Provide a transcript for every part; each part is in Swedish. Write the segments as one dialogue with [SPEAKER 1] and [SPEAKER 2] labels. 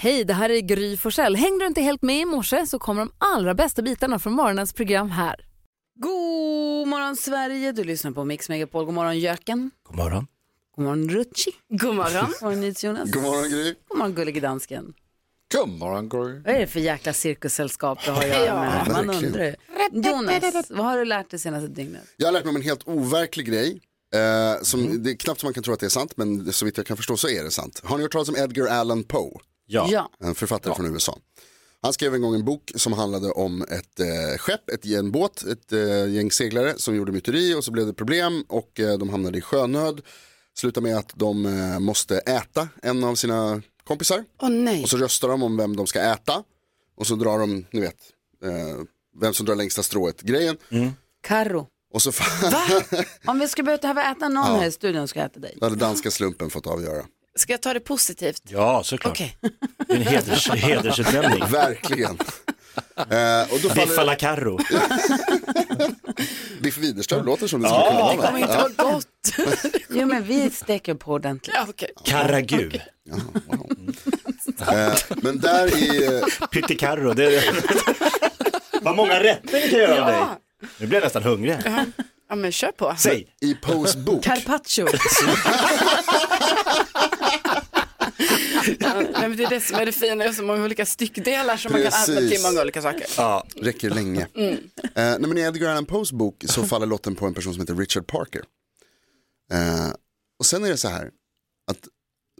[SPEAKER 1] Hej, det här är Gry Forssell. Hängde du inte helt med i morse så kommer de allra bästa bitarna från morgonens program här.
[SPEAKER 2] God morgon Sverige, du lyssnar på Mix Megapol. God morgon Jöken.
[SPEAKER 3] God morgon.
[SPEAKER 2] God morgon Rutschi.
[SPEAKER 4] God morgon.
[SPEAKER 2] God morgon Jonas.
[SPEAKER 5] God morgon Gry.
[SPEAKER 2] God morgon gullige dansken.
[SPEAKER 5] God morgon Gry.
[SPEAKER 2] Vad är det för jäkla cirkussällskap du har att göra med? här? Man
[SPEAKER 5] verkligen.
[SPEAKER 2] undrar ju. Jonas, vad har du lärt dig senaste dygnet?
[SPEAKER 5] Jag har lärt mig om en helt overklig grej. Eh, som, Det är knappt som man kan tro att det är sant, men så vitt jag kan förstå så är det sant. Har ni hört talas om Edgar Allan Poe?
[SPEAKER 3] Ja.
[SPEAKER 5] En författare från USA. Han skrev en gång en bok som handlade om ett eh, skepp, ett, en båt, ett eh, gäng seglare som gjorde myteri och så blev det problem och eh, de hamnade i sjönöd. Slutade med att de eh, måste äta en av sina kompisar.
[SPEAKER 4] Åh nej.
[SPEAKER 5] Och så röstar de om vem de ska äta. Och så drar de, ni vet, eh, vem som drar längsta strået grejen.
[SPEAKER 2] Karo.
[SPEAKER 5] Och så fa-
[SPEAKER 2] Om vi skulle behöva äta någon här i studion ska jag äta dig.
[SPEAKER 5] Då hade danska slumpen fått avgöra.
[SPEAKER 4] Ska jag ta det positivt?
[SPEAKER 3] Ja, såklart.
[SPEAKER 4] Okej.
[SPEAKER 3] Det är en heders, hedersutnämning.
[SPEAKER 5] Verkligen. eh, och då
[SPEAKER 3] Biffa
[SPEAKER 5] faller
[SPEAKER 3] la Carro.
[SPEAKER 5] Biff Widerström låter som det skulle kunna
[SPEAKER 4] Det kommer
[SPEAKER 5] vara.
[SPEAKER 4] inte
[SPEAKER 5] Ja,
[SPEAKER 4] vara gott.
[SPEAKER 2] Jo men vi steker på ordentligt.
[SPEAKER 4] Ja, okej.
[SPEAKER 3] Karragu.
[SPEAKER 5] wow. eh, men där i, eh,
[SPEAKER 3] Pyttikarro. Det är... Vad många rätter vi kan göra av dig. Nu blir jag nästan hungrig. här.
[SPEAKER 4] Ja, men kör på.
[SPEAKER 3] Säg.
[SPEAKER 5] i Poes bok,
[SPEAKER 2] Carpaccio.
[SPEAKER 4] Nej, men det är det som är det fina, det är så många olika styckdelar som man kan använda till
[SPEAKER 5] Precis.
[SPEAKER 4] många olika saker.
[SPEAKER 3] Ja.
[SPEAKER 5] räcker länge. Eh, nej, men I Edgar Allan Poes bok så faller lotten på en person som heter Richard Parker. Eh, och sen är det så här, att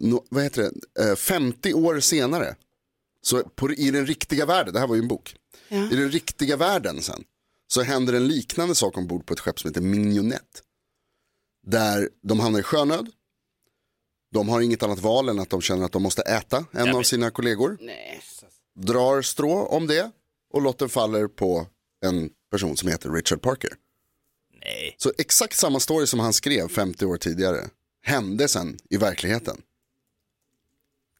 [SPEAKER 5] nå- vad heter det, eh, 50 år senare, så på, i den riktiga världen, det här var ju en bok, i den riktiga världen sen, så händer en liknande sak ombord på ett skepp som heter Mignonette. Där de hamnar i sjönöd, de har inget annat val än att de känner att de måste äta en av sina kollegor,
[SPEAKER 4] Nej.
[SPEAKER 5] drar strå om det och lotten faller på en person som heter Richard Parker.
[SPEAKER 3] Nej.
[SPEAKER 5] Så exakt samma story som han skrev 50 år tidigare hände sen i verkligheten.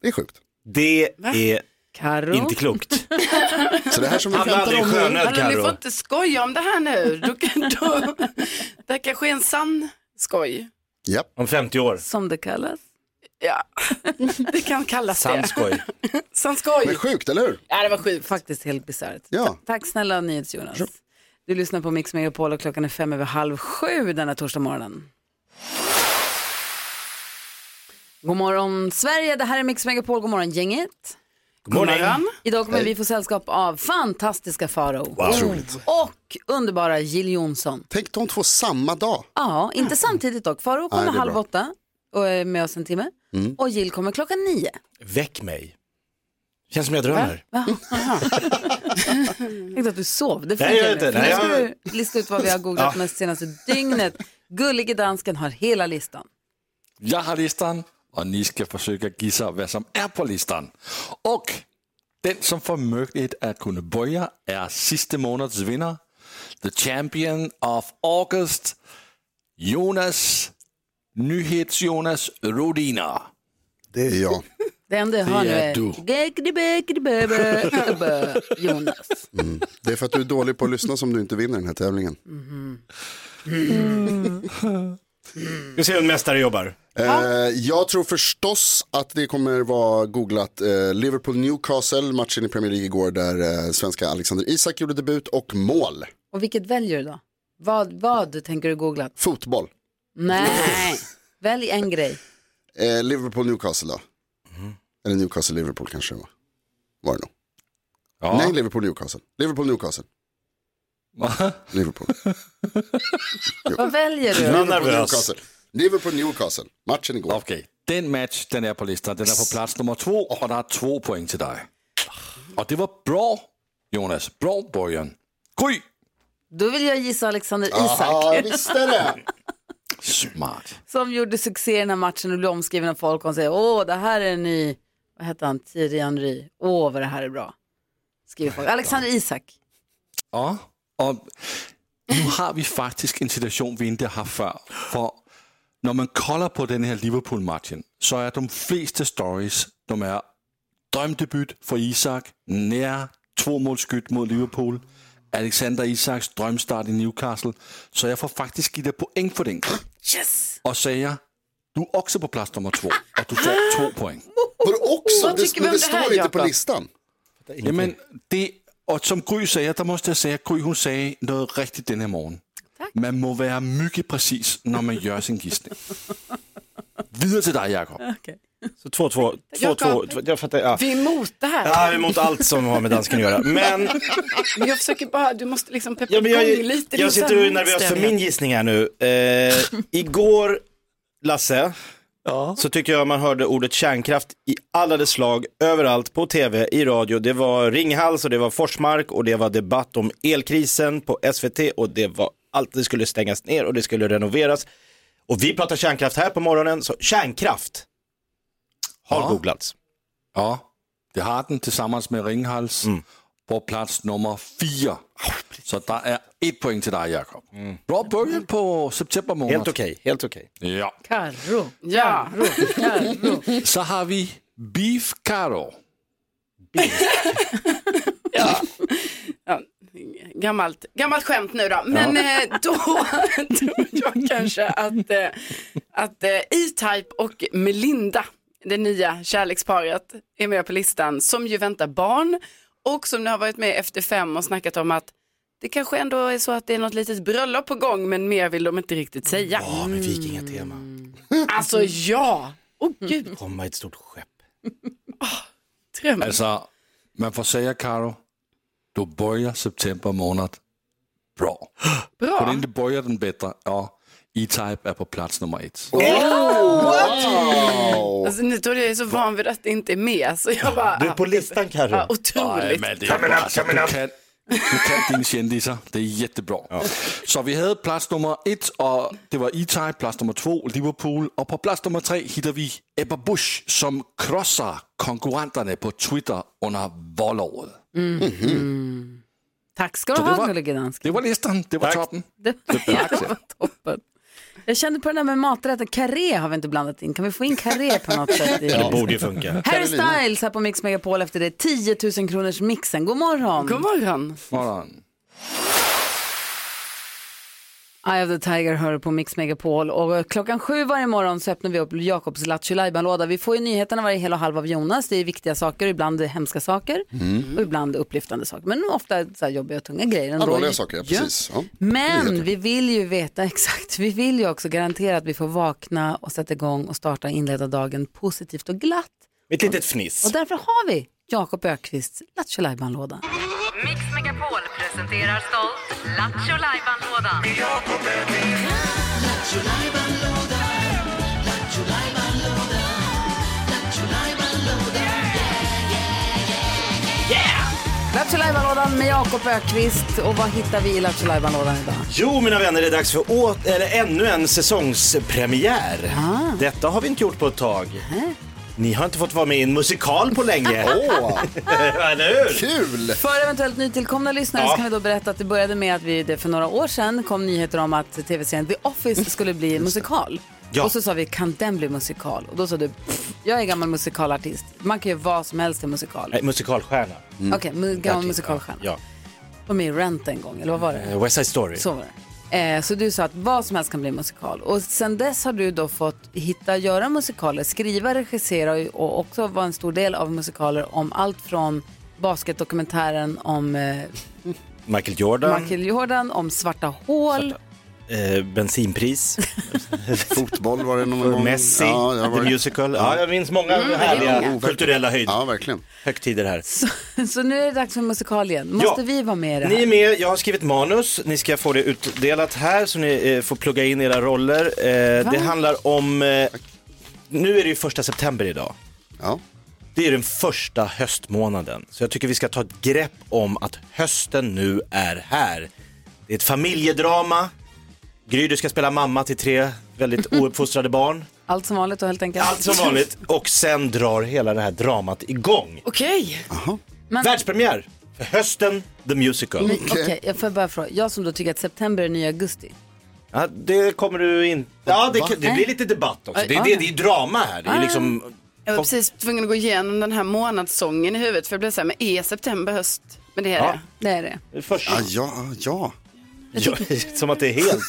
[SPEAKER 5] Det är sjukt.
[SPEAKER 3] Det är
[SPEAKER 2] Karo.
[SPEAKER 3] inte klokt.
[SPEAKER 5] Så det här som vi
[SPEAKER 3] Hamna aldrig i
[SPEAKER 5] skämtar om nu,
[SPEAKER 3] sjönöd
[SPEAKER 4] Hallå, ni får
[SPEAKER 3] Carro.
[SPEAKER 4] inte skoja om det här nu. Då, då, det här kanske är en sann skoj.
[SPEAKER 5] ja,
[SPEAKER 3] Om 50 år.
[SPEAKER 2] Som det kallas.
[SPEAKER 4] Ja, det kan kallas
[SPEAKER 3] Sann
[SPEAKER 4] det.
[SPEAKER 3] skoj.
[SPEAKER 4] Sann skoj.
[SPEAKER 5] men sjukt eller hur?
[SPEAKER 4] Ja, det var sjukt.
[SPEAKER 2] Faktiskt helt bisarrt.
[SPEAKER 5] Ja.
[SPEAKER 2] Tack snälla NyhetsJonas. Du lyssnar på Mix Megapol och klockan är fem över halv sju denna torsdag morgonen. God morgon Sverige, det här är Mix Megapol, god morgon gänget.
[SPEAKER 3] God morgon.
[SPEAKER 4] morgon.
[SPEAKER 2] Idag kommer vi få sällskap av fantastiska Farao
[SPEAKER 5] Otroligt.
[SPEAKER 2] och underbara Jill Johnson.
[SPEAKER 5] Tänk de två samma dag.
[SPEAKER 2] Ja, inte samtidigt dock. Farao kommer
[SPEAKER 5] Nej, det är
[SPEAKER 2] halv
[SPEAKER 5] bra. Mm.
[SPEAKER 2] åtta och är med oss en timme och Jill kommer klockan nio.
[SPEAKER 3] Väck mig. Känns som jag drömmer.
[SPEAKER 2] Jag tänkte att du sov. Det
[SPEAKER 3] Nej, jag
[SPEAKER 2] funkar nu. För
[SPEAKER 3] vet inte.
[SPEAKER 2] nu
[SPEAKER 3] Nej,
[SPEAKER 2] ska
[SPEAKER 3] jag-
[SPEAKER 2] du lista ut vad vi har googlat mest senaste dygnet. Gullige dansken har hela listan.
[SPEAKER 6] Jag har listan och ni ska försöka gissa vad som är på listan. Och den som får möjlighet att kunna börja är sista månads vinnare, the champion of August, Jonas Nyhets-Jonas Rodina.
[SPEAKER 5] Det är jag.
[SPEAKER 2] Det enda jag hör nu
[SPEAKER 6] är
[SPEAKER 2] är
[SPEAKER 6] du.
[SPEAKER 2] Gägdebägdebäbä, Jonas.
[SPEAKER 5] Det är för att du är dålig på att lyssna som du inte vinner den här tävlingen.
[SPEAKER 3] Vi får se hur en mästare jobbar.
[SPEAKER 5] Eh, jag tror förstås att det kommer vara googlat eh, Liverpool-Newcastle, matchen i Premier League igår där eh, svenska Alexander Isak gjorde debut och mål.
[SPEAKER 2] Och vilket väljer du då? Vad, vad tänker du googla?
[SPEAKER 5] Fotboll.
[SPEAKER 2] Nej, välj en grej.
[SPEAKER 5] Eh, Liverpool-Newcastle då? Eller Newcastle-Liverpool kanske det var. Var det nog.
[SPEAKER 6] Ja.
[SPEAKER 5] Nej, Liverpool-Newcastle. Liverpool-Newcastle. Liverpool.
[SPEAKER 2] Vad väljer du?
[SPEAKER 3] är nervös.
[SPEAKER 5] Liverpool-Newcastle. Liverpool-Newcastle. Matchen igår.
[SPEAKER 6] Okej, den match den är på listan. Den är på plats nummer två och der er två poäng till dig. Och det var bra, Jonas. Bra början. Gry!
[SPEAKER 2] Då vill jag gissa Alexander
[SPEAKER 5] Ja, jag
[SPEAKER 2] Isak
[SPEAKER 5] visste det.
[SPEAKER 6] Smart.
[SPEAKER 2] som gjorde succé i den här matchen och blev omskriven av folk och säger åh det här är en ny, vad heter han, Thierry Henry, åh vad det här är bra. Skriver folk. Alexander Isak.
[SPEAKER 6] Ja, och nu har vi faktiskt en situation vi inte har før. For når man kollar på den her Liverpool-matchen, så är de fleste stories, de er drømdebut for Isak, nær tvåmålsskyt mod Liverpool, Alexander Isaks drømstart i Newcastle, så jeg får faktisk givet dig point for den.
[SPEAKER 2] Yes!
[SPEAKER 6] Og sagde, du er også på plads nummer två, og du får to point.
[SPEAKER 5] Var också?
[SPEAKER 4] Vad
[SPEAKER 5] det
[SPEAKER 4] tycker vi om
[SPEAKER 5] det
[SPEAKER 4] det
[SPEAKER 5] står
[SPEAKER 4] här,
[SPEAKER 5] inte på
[SPEAKER 4] Jakob? Mm.
[SPEAKER 5] listan.
[SPEAKER 6] Jamen, det, og som Gry sagde, der måste jeg sige, at Gry hun sagde noget rigtigt den her morgen. Man må være mygge præcis, når man gør sin gidsning. Videre till dig, Jakob.
[SPEAKER 3] Så 2-2. 2-2. Jag fattar. Ja.
[SPEAKER 4] Vi är emot det här.
[SPEAKER 3] Ja, vi är emot allt som har med dansken att göra. Men,
[SPEAKER 4] Men jag försöker bara, du måste liksom peppa
[SPEAKER 3] ja, men jag,
[SPEAKER 4] igång lite.
[SPEAKER 3] jag
[SPEAKER 4] din
[SPEAKER 3] sitter och är nervös för
[SPEAKER 4] stämning.
[SPEAKER 3] min gissning här nu. Eh, igår, Lasse, så tycker jag man hörde ordet kärnkraft i alla dess slag, överallt, på tv, i radio. Det var Ringhals och det var Forsmark och det var debatt om elkrisen på SVT och det var allt, det skulle stängas ner och det skulle renoveras. Och vi pratar kärnkraft här på morgonen, så kärnkraft har
[SPEAKER 6] Ja.
[SPEAKER 3] googlats.
[SPEAKER 6] Ja, det har den tillsammans med Ringhals på plats nummer fyra. Så där är ett poäng till dig, Jakob. Bra början på september månad.
[SPEAKER 3] Helt okej, helt okej.
[SPEAKER 6] Ja.
[SPEAKER 2] Karro.
[SPEAKER 4] Ja,
[SPEAKER 6] Så har vi Beef Caro.
[SPEAKER 4] ja. Gammalt, gammalt skämt nu då. Men eh, då tror jag kanske att, eh, att eh, E-Type och Melinda, det nya kärleksparet, är med på listan som ju väntar barn och som nu har varit med efter fem och snackat om att det kanske ändå är så att det är något litet bröllop på gång men mer vill de inte riktigt säga.
[SPEAKER 3] Ja, men
[SPEAKER 4] Mm.
[SPEAKER 3] vikingatema.
[SPEAKER 4] Alltså ja, åh oh, gud,
[SPEAKER 3] Komma i ett stort skepp.
[SPEAKER 4] dröm.
[SPEAKER 6] Alltså, man får säga, Caro, du börjar september månad bra. Bra. Kunde inte börja den bättre. Ja, E-Type är på plats nummer ett.
[SPEAKER 5] Wow.
[SPEAKER 4] Alltså, nu tror jag jag är så van vid att det inte är med så jag bara,
[SPEAKER 3] Du är på listan Carro.
[SPEAKER 4] ah, otroligt.
[SPEAKER 6] men det är bra. Alltså, du, kan, du kan dina kändisar. Det är jättebra. Så vi hade plats nummer ett och det var E-Type, plats nummer två Liverpool och på plats nummer tre hittar vi Ebba Busch som krossar konkurrenterna på Twitter under valåret.
[SPEAKER 2] Tack ska du
[SPEAKER 6] Så det
[SPEAKER 2] ha,
[SPEAKER 6] var-
[SPEAKER 2] gullige dansk.
[SPEAKER 6] Det var listan, det var
[SPEAKER 3] Tack.
[SPEAKER 6] toppen.
[SPEAKER 2] Det var toppen. Jag kände på den där med maträtten, karré har vi inte blandat in. Kan vi få in karré på något sätt? i-
[SPEAKER 3] Det borde ju funka.
[SPEAKER 2] Harry
[SPEAKER 5] Carolina.
[SPEAKER 2] Styles här på Mix Megapol efter det. 10 000 kronors mixen. God morgon.
[SPEAKER 4] God morgon.
[SPEAKER 6] Morgon.
[SPEAKER 2] Eye of the Tiger hör på Mix Megapol och eh, klockan sju varje morgon så öppnar vi upp Jakobs Lattjo låda Vi får ju nyheterna varje hel och halv av Jonas. Det är viktiga saker, ibland hemska saker och ibland upplyftande saker. Men ofta så här jobbiga och tunga grejer ändå.
[SPEAKER 5] Allvarliga saker, ja, precis. Ja.
[SPEAKER 2] Men vi vill ju veta exakt, vi vill ju också garantera att vi får vakna och sätta igång och starta och inleda dagen positivt och glatt.
[SPEAKER 3] Ett litet fniss.
[SPEAKER 2] Och därför har vi Jakob Ökvists Lattjo låda
[SPEAKER 7] Mix Megapol presenterar stolt Lattjo Lajban-lådan.
[SPEAKER 2] Lattjo lådan med Jakob Ökvist och vad hittar vi i Lattjo lådan idag?
[SPEAKER 3] Jo, mina vänner, det är dags för åt, eller ännu en säsongspremiär.
[SPEAKER 2] Ah.
[SPEAKER 3] Detta har vi inte gjort på ett tag. Ni har inte fått vara med i en musikal på länge.
[SPEAKER 5] Åh,
[SPEAKER 3] Eller hur?
[SPEAKER 5] kul!
[SPEAKER 2] För eventuellt nytillkomna lyssnare så
[SPEAKER 3] Ja.
[SPEAKER 2] kan vi då berätta att det började med att vi det för några år sedan kom nyheter om att tv-serien The Office skulle bli musikal.
[SPEAKER 3] Mm. Ja.
[SPEAKER 2] Och så sa vi, kan den bli musikal? Och då sa du, "Pff, jag är gammal musikalartist. Man kan ju vad som helst till musikal.
[SPEAKER 3] Nej, musikalstjärna.
[SPEAKER 2] Okej, mu- gammal musikalstjärna.
[SPEAKER 3] Ja.
[SPEAKER 2] Var med i Rent en gång, eller vad var det?
[SPEAKER 3] Eh, West Side Story.
[SPEAKER 2] Så var det. Eh, så du sa att vad som helst kan bli musikal. Och sen dess har du då fått hitta, göra musikaler, skriva, regissera och- och också vara en stor del av musikaler om allt från basketdokumentären om eh,
[SPEAKER 3] Michael Jordan,
[SPEAKER 2] Michael Jordan, om svarta hål.
[SPEAKER 3] Eh, bensinpris,
[SPEAKER 5] Fotboll var det någon gång.
[SPEAKER 3] Messi,
[SPEAKER 5] Mm. Ja, jag
[SPEAKER 3] The
[SPEAKER 5] var...
[SPEAKER 3] Musical. Ja, jag minns många
[SPEAKER 2] Mm,
[SPEAKER 3] härliga kulturella höjd,
[SPEAKER 5] ja verkligen.
[SPEAKER 3] högtider här.
[SPEAKER 2] Så nu är det dags för musikal igen. Måste
[SPEAKER 3] Ja.
[SPEAKER 2] vi vara med i det
[SPEAKER 3] Ni är
[SPEAKER 2] här?
[SPEAKER 3] med, jag har skrivit manus, ni ska få det utdelat här så ni eh, får plugga in era roller. Eh, det handlar om, eh, nu är det ju första september idag.
[SPEAKER 5] Ja.
[SPEAKER 3] Det är den första höstmånaden, så jag tycker vi ska ta ett grepp om att hösten nu är här. Det är ett familjedrama. Gry, du ska spela mamma till tre väldigt ouppfostrade barn.
[SPEAKER 2] Allt som vanligt då helt enkelt.
[SPEAKER 3] Allt som vanligt. Och sen drar hela det här dramat igång.
[SPEAKER 4] Okej.
[SPEAKER 3] Världspremiär för hösten, the musical.
[SPEAKER 2] Okej, jag får bara fråga. Jag som då tycker att september är ny augusti.
[SPEAKER 3] Ja, det kommer du inte... Ja, det, det blir lite debatt också. Det, är det, det är drama här. Det är liksom...
[SPEAKER 4] Jag var precis tvungen att gå igenom den här månadssången i huvudet för jag blev så här, men är september höst? Men det är
[SPEAKER 3] Ja.
[SPEAKER 4] det.
[SPEAKER 2] Det är det.
[SPEAKER 3] Först,
[SPEAKER 5] Ja, ja, ja.
[SPEAKER 3] ja, som att det är helt...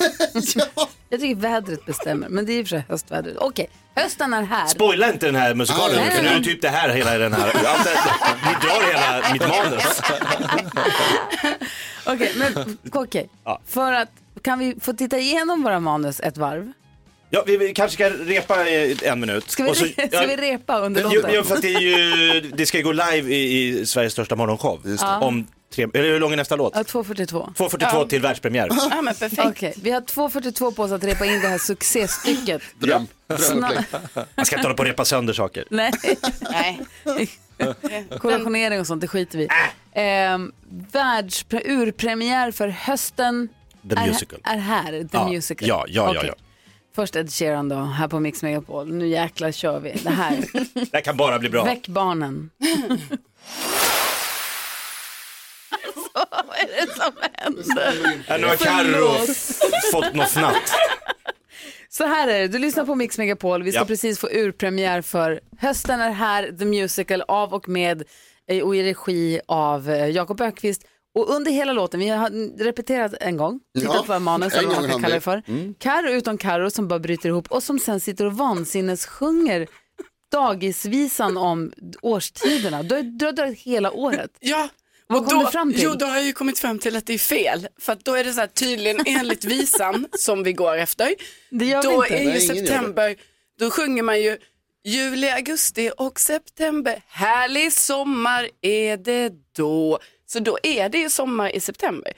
[SPEAKER 5] ja.
[SPEAKER 2] Jag tycker vädret bestämmer, men det är i och för sig höstvädret. Okej, hösten är här.
[SPEAKER 3] Spoila inte den här musikalen,
[SPEAKER 5] Ah, nej,
[SPEAKER 3] för nu
[SPEAKER 2] nej.
[SPEAKER 3] är det typ det här hela den här. Allt det- Ni drar hela mitt manus.
[SPEAKER 2] Okej, men okej.
[SPEAKER 3] Ja.
[SPEAKER 2] För att, kan vi få titta igenom våra manus ett varv?
[SPEAKER 3] Ja, vi, vi kanske ska repa eh, en minut.
[SPEAKER 2] Ska vi,
[SPEAKER 3] Och så-
[SPEAKER 2] ska
[SPEAKER 3] ja,
[SPEAKER 2] vi repa under
[SPEAKER 3] Jo,
[SPEAKER 2] låten?
[SPEAKER 3] jo, för att det, är ju, det ska ju gå live i, i Sveriges största morgonshow.
[SPEAKER 5] Just det.
[SPEAKER 3] Om tre, eller hur lång är nästa låt?
[SPEAKER 2] Ja, 2.42.
[SPEAKER 3] 2.42 till världspremiär.
[SPEAKER 4] Ja, men perfekt.
[SPEAKER 2] Okej, vi har 2.42 på oss att repa in det här succéstycket.
[SPEAKER 5] Dröm, drömupplägg.
[SPEAKER 3] Man ska inte hålla på och repa sönder saker.
[SPEAKER 2] Nej,
[SPEAKER 4] Nej.
[SPEAKER 2] korrektionering och sånt, det skiter vi i.
[SPEAKER 3] Äh.
[SPEAKER 2] Ehm, världspre- urpremiär för hösten
[SPEAKER 3] The
[SPEAKER 2] är,
[SPEAKER 3] Musical.
[SPEAKER 2] är här, The
[SPEAKER 3] Ja,
[SPEAKER 2] Musical.
[SPEAKER 3] ja, ja, ja,
[SPEAKER 2] Okej.
[SPEAKER 3] ja.
[SPEAKER 2] Först Ed Sheeran då, här på Mix Megapol. Nu jäklar kör vi. Det här,
[SPEAKER 3] Det här kan bara bli bra.
[SPEAKER 2] väck barnen.
[SPEAKER 3] Ja, Nu har Carro fått något fnatt.
[SPEAKER 2] Så här är det, du lyssnar på Mix Megapol. Vi ska
[SPEAKER 3] Ja.
[SPEAKER 2] precis få urpremiär för Hösten är här, The Musical, av och med eh, och i regi av eh, Jakob Ökvist. Och under hela låten, vi har mm, repeterat en gång, tittat
[SPEAKER 5] Ja,
[SPEAKER 2] på vad manus
[SPEAKER 5] en
[SPEAKER 2] eller vad
[SPEAKER 5] gång
[SPEAKER 2] man kan
[SPEAKER 5] hann
[SPEAKER 2] kalla det
[SPEAKER 5] vi. Mm.
[SPEAKER 2] för. Karo utom Karo som bara bryter ihop och som sen sitter och vansinnessjunger dagisvisan om årstiderna. Du har du har dragit hela året.
[SPEAKER 4] Ja.
[SPEAKER 2] Vad
[SPEAKER 4] och
[SPEAKER 2] kom
[SPEAKER 4] då,
[SPEAKER 2] du fram till?
[SPEAKER 4] Jo, då har jag ju kommit fram till att det är fel. För att då är det så här tydligen enligt visan som vi går efter.
[SPEAKER 2] Det gör vi
[SPEAKER 4] då
[SPEAKER 2] inte.
[SPEAKER 4] är
[SPEAKER 5] Nej,
[SPEAKER 4] ju
[SPEAKER 5] ingen gör det.
[SPEAKER 4] september, då sjunger man ju juli, augusti och september. Härlig sommar är det då. Så då är det ju sommar i september.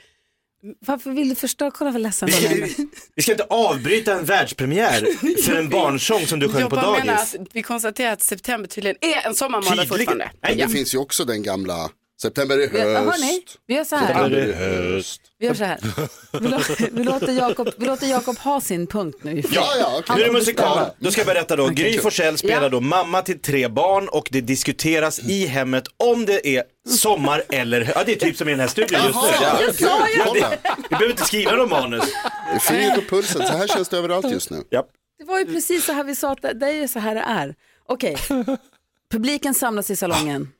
[SPEAKER 2] Varför vill du förstöra? Kolla vad ledsen
[SPEAKER 3] Vi
[SPEAKER 2] hon
[SPEAKER 3] ska,
[SPEAKER 2] är.
[SPEAKER 3] vi, vi ska inte avbryta en världspremiär för en barnsång som du sjöng
[SPEAKER 4] jag
[SPEAKER 3] på
[SPEAKER 4] bara menar
[SPEAKER 3] dagis.
[SPEAKER 4] att vi konstaterar att september tydligen är en sommarmånad
[SPEAKER 3] Tydligen.
[SPEAKER 4] fortfarande.
[SPEAKER 3] Nej,
[SPEAKER 5] Men det finns ju också den gamla, september är
[SPEAKER 2] Ja, Hörni,
[SPEAKER 5] höst.
[SPEAKER 2] vi gör så här.
[SPEAKER 5] September är höst.
[SPEAKER 2] Vi gör så här. Vi, lå- vi låter Jakob, vi låter Jakob ha sin punkt nu.
[SPEAKER 5] Ja, ja, okej.
[SPEAKER 3] Nu är det
[SPEAKER 2] får
[SPEAKER 3] musikal.
[SPEAKER 2] bestämma.
[SPEAKER 3] Då ska jag berätta då. Gry Forssell spelar
[SPEAKER 2] Ja.
[SPEAKER 3] då mamma till tre barn och det diskuteras i hemmet om det är sommar eller hö- Ja, det är typ som i den här studion just nu. Ja.
[SPEAKER 5] jag sa ju
[SPEAKER 3] Ja,
[SPEAKER 5] Kolla,
[SPEAKER 3] det, vi behöver inte skriva någon manus.
[SPEAKER 5] fingret på pulsen, så här känns det överallt just nu.
[SPEAKER 3] Ja.
[SPEAKER 2] Det var ju precis så här vi sa att det det är ju så här det är. Okej, publiken samlas i salongen.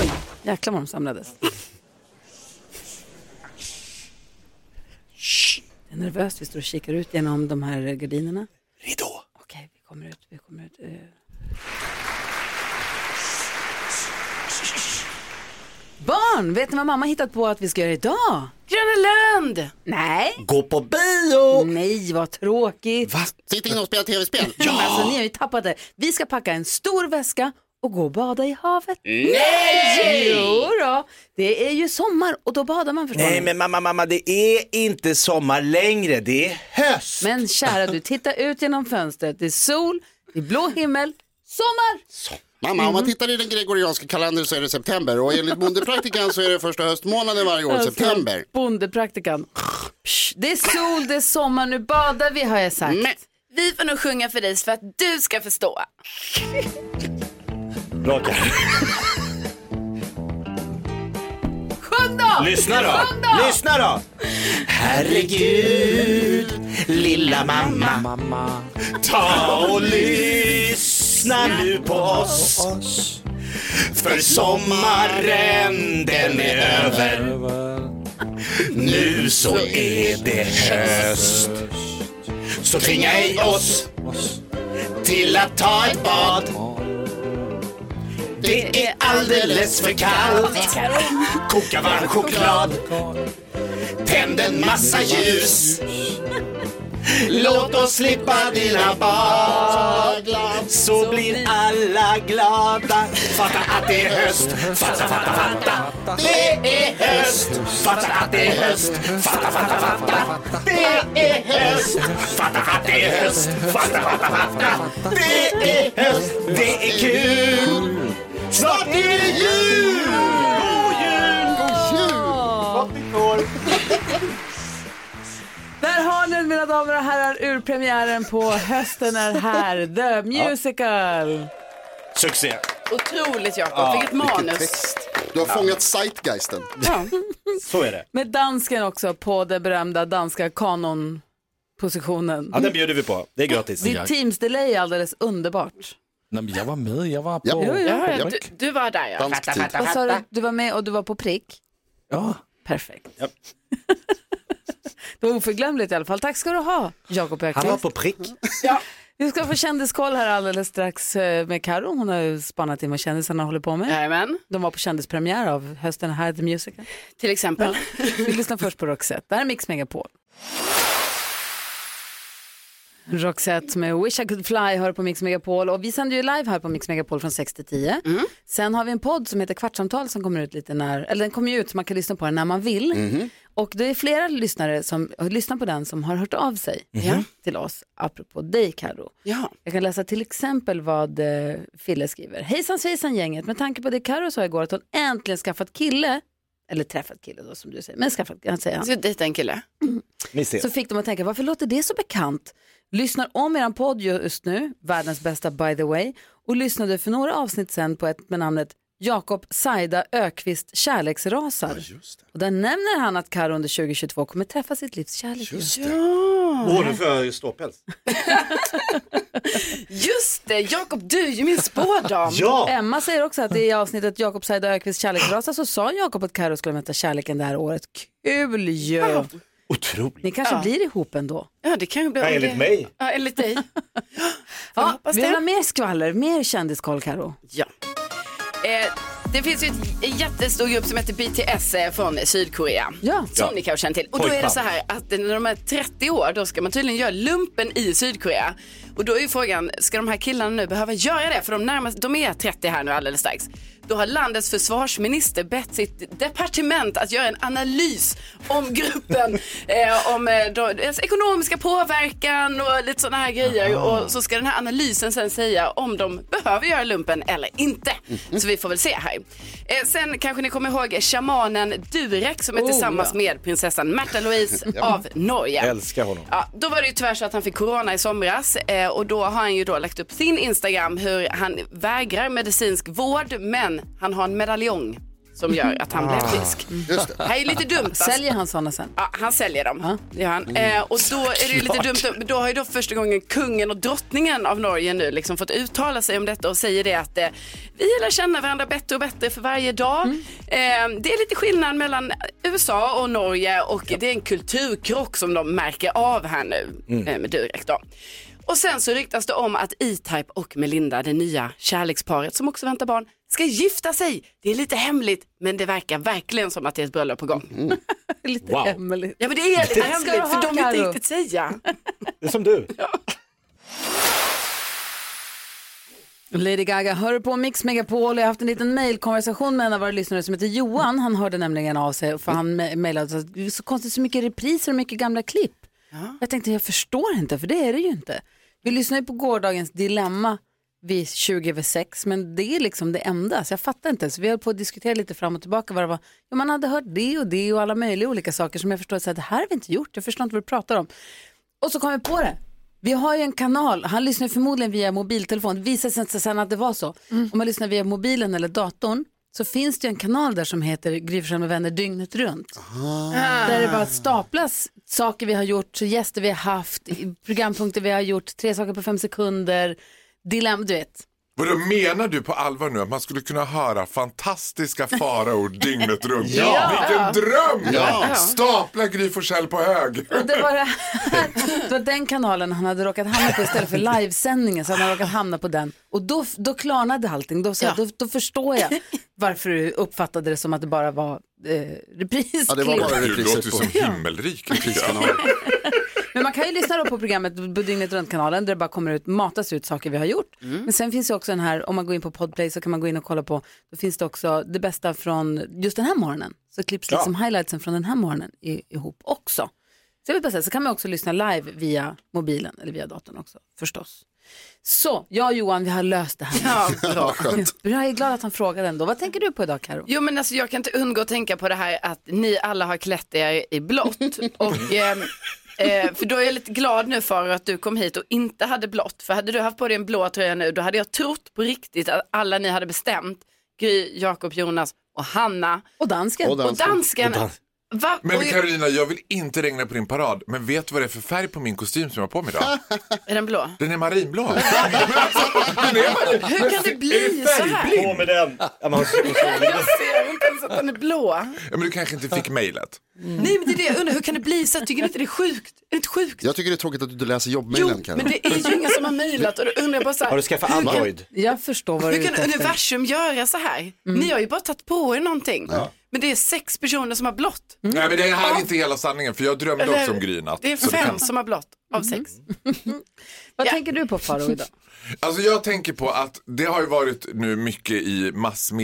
[SPEAKER 2] Oj, jäklar vad de samlades. Shh. Det är nervöst, vi står och kikar ut genom de här eh, gardinerna.
[SPEAKER 3] Ridå.
[SPEAKER 2] Okej, vi kommer ut, vi kommer ut. eh. Barn, vet ni vad mamma hittat på att vi ska göra idag?
[SPEAKER 4] Gröna Lund!
[SPEAKER 2] Nej.
[SPEAKER 3] Gå på bio!
[SPEAKER 2] Nej, vad tråkigt.
[SPEAKER 5] Sitt inne och spela tv-spel.
[SPEAKER 2] Ja. Alltså, ni har ju tappat det. Vi ska packa en stor väska och gå och bada i havet.
[SPEAKER 3] Nej!
[SPEAKER 2] Jo då, det är ju sommar och då badar man förstår ni.
[SPEAKER 3] Nej men mamma, mamma, det är inte sommar längre, det är höst.
[SPEAKER 2] Men kära du, titta ut genom fönstret. Det är sol, det är blå himmel, sommar!
[SPEAKER 5] Mamma, om man
[SPEAKER 4] Mhm.
[SPEAKER 5] tittar i den gregorianska kalendern så är det september och enligt bondepraktikan så är det första höstmånaden varje år, september.
[SPEAKER 2] Bondepraktikan. Psch, Det är sol, det är sommar, nu badar vi har jag sagt.
[SPEAKER 4] Men vi får nog sjunga för dig för att du ska förstå.
[SPEAKER 3] Bra Karin.
[SPEAKER 2] Sjung då!
[SPEAKER 3] Lyssna då! Lyssna då! Herregud, lilla mamma. Ta och lyssna nu på oss. För sommaren den är över. Nu så är det höst. Så tvinga i oss till att ta ett bad. Det är alldeles för kallt. Koka varm choklad. Tänd en massa ljus. Låt oss slippa dina baglar så blir alla glada. Fatta att det är höst. Fatta, fatta, fatta. Det är höst. Fatta att det är höst. Fatta, fatta, fatta. Det är höst. Fatta att det är höst. Fatta, fatta, fatta. Det är höst. Det är kul. Snart är det jul. God jul.
[SPEAKER 2] Där har ni den, mina damer och herrar, urpremiären på Hösten är här, The Musical.
[SPEAKER 3] Succé.
[SPEAKER 4] Otroligt Jakob, vilket manus.
[SPEAKER 5] Du har fångat zeitgeisten.
[SPEAKER 4] Ja.
[SPEAKER 3] Så är det.
[SPEAKER 2] Med dansken också på den berömda danska kanonpositionen.
[SPEAKER 3] Ja, den bjuder vi på. Det är gratis.
[SPEAKER 6] jag-
[SPEAKER 2] Ditt Teams delay är alldeles underbart.
[SPEAKER 6] Nå, men jeg var med, jeg var på...
[SPEAKER 5] Ja. Ja,
[SPEAKER 4] Ja, ja,
[SPEAKER 6] Henrik.
[SPEAKER 4] du, du var där ja.
[SPEAKER 5] Dansk tid.
[SPEAKER 2] Vad sa du? Du var med och du var på prick?
[SPEAKER 6] Ja.
[SPEAKER 2] Perfekt.
[SPEAKER 3] Japp.
[SPEAKER 2] Det var oförglömligt i alla fall. Tack ska du ha, Jakob
[SPEAKER 3] Han var
[SPEAKER 2] Öqvist.
[SPEAKER 3] på prick.
[SPEAKER 2] Vi ska få kändiskoll här alldeles strax eh, med Karo. Hon har ju spannat in vad kändisarna håller på med.
[SPEAKER 4] Jajamän,
[SPEAKER 2] De var på kändispremiär av hösten här i The Musical.
[SPEAKER 4] till exempel.
[SPEAKER 2] Vi lyssnar först på Roxette. Det här är Mix Megapol. Roxette med Wish I Could Fly hör på Mix Megapol och vi sänder ju live här på Mix Megapol från 6 till 10. Sen har vi en podd som heter Kvartsamtal som kommer ut lite när, eller den kommer ju ut så man kan lyssna på den när man vill. Och det är flera lyssnare som lyssnar på den som har hört av sig till oss, apropå dig Karo.
[SPEAKER 4] Ja.
[SPEAKER 2] Jag kan läsa till exempel vad eh, Fille skriver. Hejsan svejsan gänget, med tanke på det Karo sa igår att hon äntligen skaffat kille, eller träffat kille då som du säger, men skaffat, han säger han.
[SPEAKER 4] Så dejta en kille.
[SPEAKER 3] Ni
[SPEAKER 2] Så fick de att tänka, varför låter det så bekant? Lyssnar om eran podd just nu, världens bästa by the way, och lyssnade för några avsnitt sen på ett med namnet Jakob Saida Ökvist Kärleksrasar. Och där nämner han att Karo under 2022 kommer träffa sitt livs kärlek.
[SPEAKER 5] Just det.
[SPEAKER 3] Går du för ståpäls?
[SPEAKER 4] Just det, Jakob du är ju min spådam.
[SPEAKER 3] Ja!
[SPEAKER 2] Emma säger också att det i avsnittet Jakob Saida Ökvist Kärleksrasa så sa Jakob att Karo skulle möta kärleken det här året. Kul ju!
[SPEAKER 3] Otroligt.
[SPEAKER 2] Ni kanske blir ihop ändå.
[SPEAKER 4] Ja, det kan ju bli.
[SPEAKER 3] Ja, enligt mig.
[SPEAKER 4] Ja, enligt dig. Jag
[SPEAKER 2] Ja,
[SPEAKER 4] hoppas
[SPEAKER 2] vi vill ha
[SPEAKER 4] det.
[SPEAKER 2] mer skvaller, mer kändiskoll Karo.
[SPEAKER 4] Ja. Eh, det finns ju ett- en jättestor grupp som heter BTS eh, från Sydkorea.
[SPEAKER 2] Ja.
[SPEAKER 4] Som ni kanske känner till. Och då är det
[SPEAKER 3] Pojkband.
[SPEAKER 4] så här att när de är 30 år då ska man tydligen göra lumpen i Sydkorea. Och då är ju frågan, ska de här killarna nu behöva göra det? För de, närmast, de är 30 här nu alldeles strax. Då har landets försvarsminister bett sitt departement att göra en analys om gruppen, eh, om eh, då- deras ekonomiska påverkan och lite sådana här grejer. Och så ska den här analysen sen säga om de behöver göra lumpen eller inte. Så vi får väl se här. Eh, sen kanske ni kommer ihåg shamanen Durek som är tillsammans med prinsessan Märta Louise av Norge.
[SPEAKER 3] Älskar honom.
[SPEAKER 4] Ja, då var det ju tyvärr så att han fick corona i somras eh, och då har han ju då lagt upp sin Instagram hur han vägrar medicinsk vård men han har en medaljong som gör att han blev frisk.
[SPEAKER 5] Just det.
[SPEAKER 4] Det här är ju lite dumt. alltså.
[SPEAKER 2] Säljer han sådana sen?
[SPEAKER 4] Ja, han säljer dem. Det gör han. Eh, och då är det ju lite dumt. men Då har ju då första gången kungen och drottningen av Norge nu liksom fått uttala sig om detta och säger det att eh, vi lär känna varandra bättre och bättre för varje dag. Eh, det är lite skillnad mellan USA och Norge och det är en kulturkrock som de märker av här nu eh, med Durek då. Och sen så ryktas det om att E-Type och Melinda, det nya kärleksparet som också väntar barn, ska gifta sig. Det är lite hemligt, men det verkar verkligen som att det är ett bröllop på gång.
[SPEAKER 2] Lite
[SPEAKER 3] Wow.
[SPEAKER 2] hemligt.
[SPEAKER 4] Ja men det är lite
[SPEAKER 2] ska
[SPEAKER 4] hemligt
[SPEAKER 2] du ha,
[SPEAKER 4] för de vill inte
[SPEAKER 2] Karo.
[SPEAKER 4] riktigt säga.
[SPEAKER 3] Det är som du.
[SPEAKER 2] Lady Gaga hör på Mix Megapol. Jag har haft en liten mejlkonversation med en av våra lyssnare som heter Johan. Han hörde nämligen av sig för han me- mejlade så att det är så konstigt så mycket repriser och mycket gamla klipp. Jag tänkte jag förstår inte för det är det ju inte. Vi lyssnade ju på gårdagens Dilemma vid 20 över 6 men det är liksom det enda så jag fattar inte. Så vi höll på att diskutera lite fram och tillbaka vad det var. Ja, man hade hört det och det och alla möjliga olika saker som jag förstår att så här, det här har vi inte gjort. Jag förstår inte vad du pratar om. Och så kom vi på det. Vi har ju en kanal, han lyssnar ju förmodligen via mobiltelefon, det visade sig inte sen att det var så. Om man lyssnar via mobilen eller datorn så finns det ju en kanal där som heter Gry Forssell med vänner dygnet runt. Där det bara staplas saker vi har gjort, gäster vi har haft, i- programpunkter vi har gjort, tre saker på fem sekunder, dilemma, du vet.
[SPEAKER 8] Vadå, menar du på allvar nu att man skulle kunna höra fantastiska faraord dygnet runt?
[SPEAKER 3] Ja.
[SPEAKER 8] Vilken dröm! Stapla Gry Forssell på hög.
[SPEAKER 2] Och det var, det, här, det var den kanalen han hade råkat hamna på istället för livesändningen. Så han hade råkat hamna på den. Och då, då klarnade allting. Då, så, då, då förstår jag varför du uppfattade det som att det bara var eh, reprisklipp.
[SPEAKER 5] Ja, det var bara
[SPEAKER 8] Du
[SPEAKER 5] repriser
[SPEAKER 8] låter ju
[SPEAKER 5] på
[SPEAKER 8] som himmelriket.
[SPEAKER 5] priskanalen.
[SPEAKER 2] Men man kan ju lyssna då på programmet på Dygnet Runt-kanalen där det bara kommer ut, matas ut saker vi har gjort. Men sen finns ju också den här, om man går in på Podplay så kan man gå in och kolla på, då finns det också det bästa från just den här morgonen. Så klipps liksom highlightsen från den här morgonen i, ihop också. Så jag vill bara säga, så kan man också lyssna live via mobilen eller via datorn också, förstås. Så, jag och Johan, vi har löst det här.
[SPEAKER 4] Ja, bra.
[SPEAKER 2] Jag är glad att han frågade ändå. Vad tänker du på idag, Karo?
[SPEAKER 4] Jo men alltså jag kan inte undgå att tänka på det här att ni alla har klätt er i blått. Och, eh, eh, för då är jag lite glad nu för att du kom hit och inte hade blått. För hade du haft på dig en blå tröja nu då hade jag trott på riktigt att alla ni hade bestämt Gry, Jakob, Jonas och Hanna
[SPEAKER 2] Och dansken.
[SPEAKER 5] Och
[SPEAKER 4] och
[SPEAKER 5] dansken.
[SPEAKER 4] dansken. Va?
[SPEAKER 8] Men
[SPEAKER 4] Oj,
[SPEAKER 8] Carolina, jag vill inte regna på din parad, men vet du vad det är för färg på min kostym som jag har på mig idag?
[SPEAKER 4] Är den blå?
[SPEAKER 8] Den är marinblå. Men alltså, den är marin-
[SPEAKER 4] Hur kan det bli så här?
[SPEAKER 3] På med den! Ja, man,
[SPEAKER 4] Jag ser inte ens att den är blå.
[SPEAKER 8] Ja, men du kanske inte fick mejlet.
[SPEAKER 4] Nej men det är det jag undrar, hur kan det bli så? här? Tycker ni inte det är sjukt? Är det inte sjukt?
[SPEAKER 5] Jag tycker det är tråkigt att du inte läser
[SPEAKER 4] Jo,
[SPEAKER 5] jobbmailen
[SPEAKER 4] men
[SPEAKER 5] Karin.
[SPEAKER 4] det är ju ingen som har mejlat och då undrar jag bara så
[SPEAKER 3] har du
[SPEAKER 4] här,
[SPEAKER 3] skaffat Android?
[SPEAKER 2] Jag förstår vad du
[SPEAKER 4] hur
[SPEAKER 2] är ute
[SPEAKER 4] kan
[SPEAKER 2] efter.
[SPEAKER 4] universum göra så här?
[SPEAKER 2] Mm.
[SPEAKER 4] Ni har ju bara tagit på er någonting. Men det är sex personer som har blått.
[SPEAKER 2] Mm.
[SPEAKER 8] Nej, men det här är inte hela sanningen, för jag drömde
[SPEAKER 4] Mm. Eller-
[SPEAKER 8] också om grynat.
[SPEAKER 4] Det är fem som har blått av
[SPEAKER 2] Mm.
[SPEAKER 4] sex.
[SPEAKER 2] Vad
[SPEAKER 4] Ja.
[SPEAKER 2] tänker du på Farao idag?
[SPEAKER 8] Alltså jag tänker på att det har ju varit nu mycket i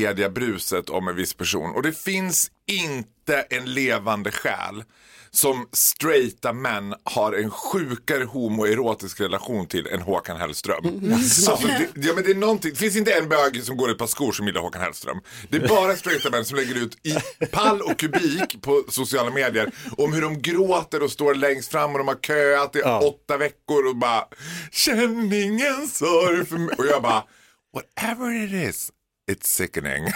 [SPEAKER 8] massmediabruset om en viss person och det finns inte en levande själ som straighta män har en sjukare homoerotisk relation till än Håkan Hellström.
[SPEAKER 3] Mm,
[SPEAKER 8] Alltså det, ja, men det, är någonting, det finns inte en bög som går i ett par skor som gillar Håkan Hellström. Det är bara straighta män som lägger ut i pall och kubik på sociala medier om hur de gråter och står längst fram och de har köat i åtta veckor och bara känn ingen sorg för mig. Och jag bara whatever it is. It's sickening.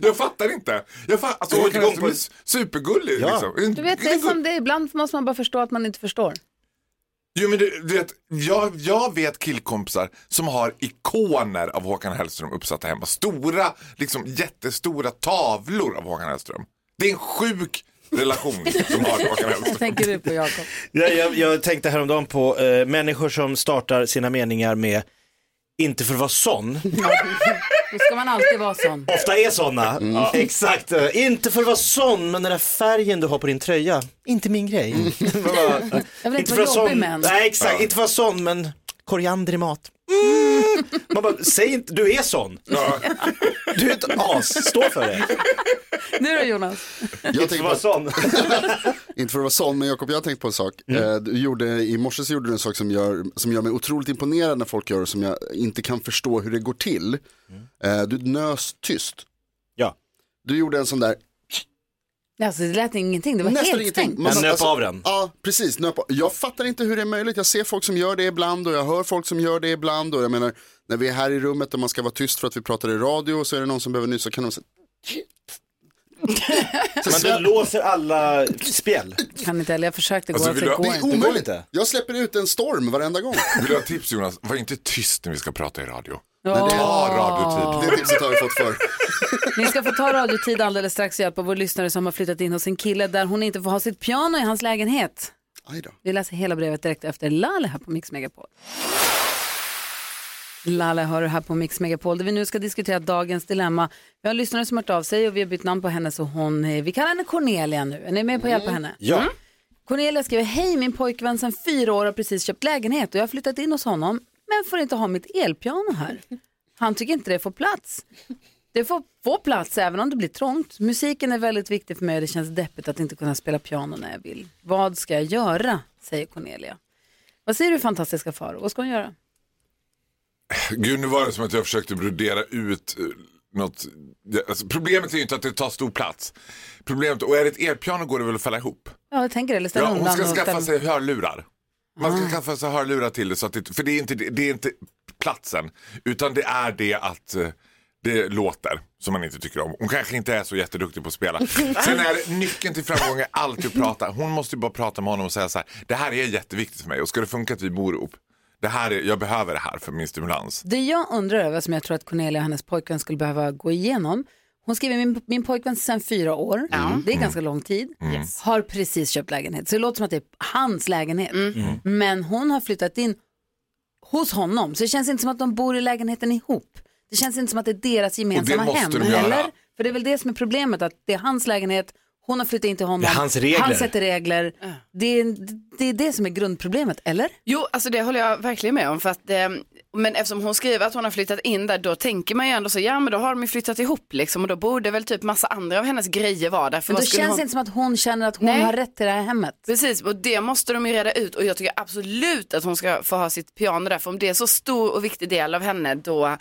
[SPEAKER 8] jag fattar inte. Jag fattar, alltså,
[SPEAKER 3] Du går
[SPEAKER 8] Håkan
[SPEAKER 3] inte igång
[SPEAKER 8] Hellström
[SPEAKER 3] på-
[SPEAKER 8] är s- supergullig.
[SPEAKER 3] Ja.
[SPEAKER 8] Liksom.
[SPEAKER 2] Du vet, det är som det är. ibland måste man bara förstå att man inte förstår.
[SPEAKER 8] Jo men du, du vet, jag, jag vet killkompisar som har ikoner av Håkan Hellström uppsatta hemma. Stora, liksom jättestora tavlor av Håkan Hellström. Det är en sjuk relation de har till Håkan
[SPEAKER 2] Vad
[SPEAKER 8] Hellström.
[SPEAKER 2] tänker du på Jakob?
[SPEAKER 3] Jag, jag, jag tänkte häromdagen på eh, människor som startar sina meningar med inte för att vara sån,
[SPEAKER 2] Då ska man alltid vara sån.
[SPEAKER 3] ofta är såna. Ja, exakt, Eh, inte för att vara sån, men den där färgen du har på din tröja, inte min grej. Bara, eh,
[SPEAKER 2] Jag vill inte
[SPEAKER 3] för
[SPEAKER 2] vara
[SPEAKER 3] att vara
[SPEAKER 2] jobbig
[SPEAKER 3] sån,
[SPEAKER 2] men.
[SPEAKER 3] Nej, exakt, inte för att vara sån, men koriander i mat. Mm. Man bara, säg inte, du är sån.
[SPEAKER 8] Ja.
[SPEAKER 3] Du är ett as, stå för det.
[SPEAKER 2] Nu då Jonas?
[SPEAKER 5] Jag
[SPEAKER 3] Inte
[SPEAKER 5] tänker
[SPEAKER 3] för att
[SPEAKER 5] på,
[SPEAKER 3] vara sån.
[SPEAKER 5] inte för att vara sån, men Jakob, jag har tänkt på en sak. Eh, Du gjorde, I morse så gjorde du en sak som gör, som gör mig otroligt imponerad när folk gör och som jag inte kan förstå hur det går till. Eh, Du nös tyst.
[SPEAKER 3] Ja.
[SPEAKER 5] Du gjorde en sån där,
[SPEAKER 2] Alltså, det lät ingenting, det var
[SPEAKER 5] nästan
[SPEAKER 2] helt
[SPEAKER 5] ingenting.
[SPEAKER 2] stängt.
[SPEAKER 5] Man
[SPEAKER 3] Jag
[SPEAKER 5] satt-
[SPEAKER 3] nöp av den.
[SPEAKER 5] Ja, precis. Nöp av. Jag fattar inte hur det är möjligt. Jag ser folk som gör det ibland och jag hör folk som gör det ibland. Och jag menar, när vi är här i rummet och man ska vara tyst för att vi pratar i radio så är det någon som behöver nysa kan de säga... Så
[SPEAKER 3] Men du
[SPEAKER 5] svär-
[SPEAKER 3] låser alla spjäll.
[SPEAKER 2] Kan inte heller, jag försökte gå,
[SPEAKER 8] Alltså,
[SPEAKER 2] alltså,
[SPEAKER 8] vill
[SPEAKER 2] det
[SPEAKER 8] du-
[SPEAKER 2] går
[SPEAKER 5] Det är
[SPEAKER 2] inte.
[SPEAKER 5] omöjligt.
[SPEAKER 3] inte.
[SPEAKER 5] Jag släpper ut en storm varenda gång.
[SPEAKER 8] Vill du ha tips Jonas? Var inte tyst när vi ska prata i radio.
[SPEAKER 2] Ja.
[SPEAKER 8] Ta radiotid.
[SPEAKER 5] Det tipset har vi fått för.
[SPEAKER 2] Ni ska få ta radiotid alldeles strax och hjälpa vår lyssnare som har flyttat in hos en kille där hon inte får ha sitt piano i hans lägenhet.
[SPEAKER 5] Aj då.
[SPEAKER 2] Vi läser hela brevet direkt efter Lalle här på Mix Megapol. Lalle hör du här på Mix Megapol där vi nu ska diskutera dagens dilemma. Vi har en lyssnare som hört av sig och vi har bytt namn på henne så hon, är- vi kallar henne Cornelia nu. Är ni med på att hjälpa henne? Mm.
[SPEAKER 3] Ja.
[SPEAKER 2] Cornelia skriver, hej min pojkvän sedan fyra år har precis köpt lägenhet och jag har flyttat in hos honom men får inte ha mitt elpiano här. Han tycker inte det får plats. Det får, får plats även om det blir trångt. Musiken är väldigt viktig för mig och det känns deppigt att inte kunna spela piano när jag vill. Vad ska jag göra? säger Cornelia. Vad säger du fantastiska far? Vad ska hon göra?
[SPEAKER 8] Gud nu var det som att jag försökte brodera ut eh, något. Ja, Alltså, problemet är ju inte att det tar stor plats. Problemet, och är det ett elpiano går det väl att fälla ihop.
[SPEAKER 2] Ja, jag tänker det. Eller ställa
[SPEAKER 8] Ja, hon
[SPEAKER 2] undan
[SPEAKER 8] ska
[SPEAKER 2] och
[SPEAKER 8] skaffa
[SPEAKER 2] ställa- Ah.
[SPEAKER 8] sig hörlurar. Man ska skaffa sig hörlurar till det, så att det för det är, inte, det är inte platsen. Utan det är det att eh, det låter som man inte tycker om. Hon kanske inte är så jätteduktig på att spela. Sen är nyckeln till framgång är alltid att prata. Hon måste ju bara prata med honom och säga så här. Det här är jätteviktigt för mig och ska det funka att vi bor ihop. Det här är, jag behöver det här för min stimulans.
[SPEAKER 2] Det jag undrar över, som jag tror att Cornelia och hennes pojkvän skulle behöva gå igenom. Hon skriver min, min pojkvän sedan fyra år, det är ganska lång tid, har precis köpt lägenhet. Så det låter som att det är hans lägenhet. Men hon har flyttat in hos honom, så det känns inte som att de bor i lägenheten ihop. Det känns inte som att det är deras gemensamma
[SPEAKER 8] måste
[SPEAKER 2] hem.
[SPEAKER 8] de göra.
[SPEAKER 2] Eller? För det är väl det som är problemet, att det är hans lägenhet, hon har flyttat in till honom,
[SPEAKER 3] Det är hans regler.
[SPEAKER 2] han sätter regler. Det, är, det är det som är grundproblemet, eller?
[SPEAKER 4] Jo, alltså det håller jag verkligen med om. För att, eh, men eftersom hon skriver att hon har flyttat in där, då tänker man ju ändå så, ja men då har de ju flyttat ihop liksom och då borde väl typ massa andra av hennes grejer vara där. För
[SPEAKER 2] Men då
[SPEAKER 4] vad skulle
[SPEAKER 2] känns
[SPEAKER 4] hon...
[SPEAKER 2] det inte som att hon känner att hon
[SPEAKER 4] Nej.
[SPEAKER 2] har rätt till det här hemmet.
[SPEAKER 4] Precis, och det måste de ju reda ut och jag tycker absolut att hon ska få ha sitt piano där, för om det är så stor och viktig del av henne då,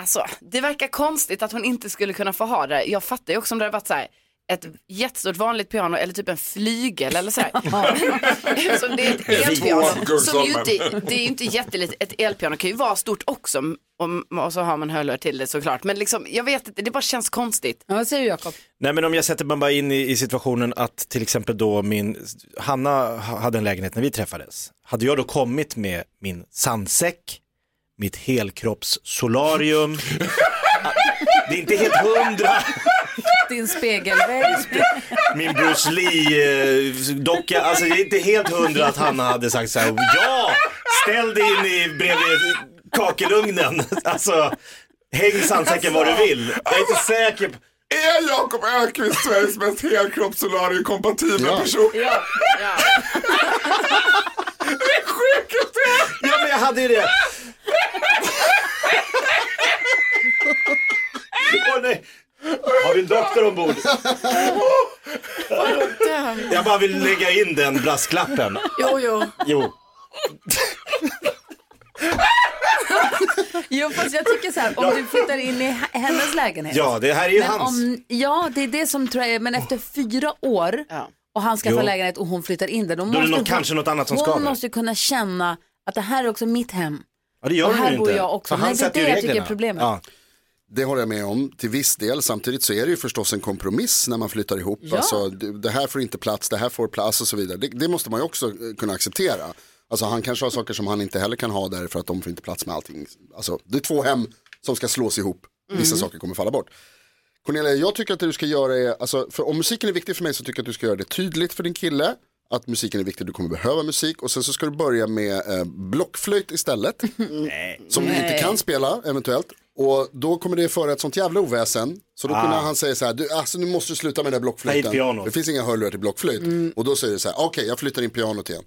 [SPEAKER 4] alltså det verkar konstigt att hon inte skulle kunna få ha det. Jag fattar ju också om det hade varit så här, ett jättestort vanligt piano eller typ en flygel eller sådär. så det är ett elpiano. Som ju inte, det är ju inte jättelitet. Ett elpiano kan ju vara stort också om, och så har man hörlurar till det såklart. Men liksom, jag vet inte, det bara känns konstigt.
[SPEAKER 2] Ja, vad säger du Jakob?
[SPEAKER 3] Nej men om jag sätter mig bara in i, i situationen att till exempel då min, Hanna ha- hade en lägenhet när vi träffades. Hade jag då kommit med min sandsäck, mitt helkroppssolarium, Ah, det är inte helt hundra,
[SPEAKER 2] Din spegelvägg.
[SPEAKER 3] min Bruce Lee-docka, alltså det är inte helt hundra att Hanna hade sagt så här, ja, ställ dig in i bredvid kakelugnen, alltså häng sandsäcken var du vill. Jag är inte säker på
[SPEAKER 8] Är Jakob Ökvist Sveriges mest helkroppssolariekompatibla
[SPEAKER 5] Ja.
[SPEAKER 8] person?
[SPEAKER 4] Ja, ja.
[SPEAKER 3] Ja men jag hade ju det. Åh nej. Har vi en doktor ombord? Jag bara vill lägga in den brasklappen.
[SPEAKER 4] Jo, jo.
[SPEAKER 3] Jo.
[SPEAKER 2] Jo, fast jag tycker så här, om du flyttar in i h- hennes lägenhet.
[SPEAKER 3] Ja, det här är ju
[SPEAKER 2] Men
[SPEAKER 3] hans.
[SPEAKER 2] om, ja, det är det som tror jag, är- men efter fyra år
[SPEAKER 4] Ja.
[SPEAKER 2] och han skaffar
[SPEAKER 3] Jo.
[SPEAKER 2] lägenhet och hon flyttar in där, då,
[SPEAKER 3] Då
[SPEAKER 2] måste
[SPEAKER 3] är det nog
[SPEAKER 2] hon,
[SPEAKER 3] kanske något annat som
[SPEAKER 2] hon
[SPEAKER 3] skaver.
[SPEAKER 2] måste ju kunna känna att det här är också mitt hem.
[SPEAKER 3] Ja, det gör
[SPEAKER 2] och
[SPEAKER 3] du
[SPEAKER 2] här
[SPEAKER 3] ju
[SPEAKER 2] bor
[SPEAKER 3] inte.
[SPEAKER 2] jag också.
[SPEAKER 3] För han
[SPEAKER 2] Nej, det är
[SPEAKER 3] sätter ju
[SPEAKER 2] det jag tycker
[SPEAKER 3] reglerna.
[SPEAKER 2] är problemet.
[SPEAKER 3] Ja.
[SPEAKER 5] Det håller jag med om till viss del. Samtidigt så är det ju förstås en kompromiss när man flyttar ihop. Alltså, det det här får inte plats, det här får plats och så vidare. Det, det måste man ju också eh, kunna acceptera. Alltså han kanske har saker som han inte heller kan ha där för att de får inte plats med allting. Alltså det är två hem som ska slås ihop. Vissa saker kommer falla bort. Cornelia, jag tycker att det du ska göra är, alltså, för om musiken är viktig för mig så tycker jag att du ska göra det tydligt för din kille. Att musiken är viktig, du kommer behöva musik. Och sen så ska du börja med eh, blockflöjt istället. Som du inte kan spela eventuellt. Och då kommer det föra ett sånt jävla oväsen. Så då
[SPEAKER 4] Ah.
[SPEAKER 5] kunde han säga så här, du, alltså nu måste du sluta med den där
[SPEAKER 3] Ta
[SPEAKER 5] blockflöjten.
[SPEAKER 3] hit pianot.
[SPEAKER 5] Det finns inga hörlurar till blockflöjt.
[SPEAKER 4] Mm.
[SPEAKER 5] Och då säger du så här, okej jag flyttar in pianot igen.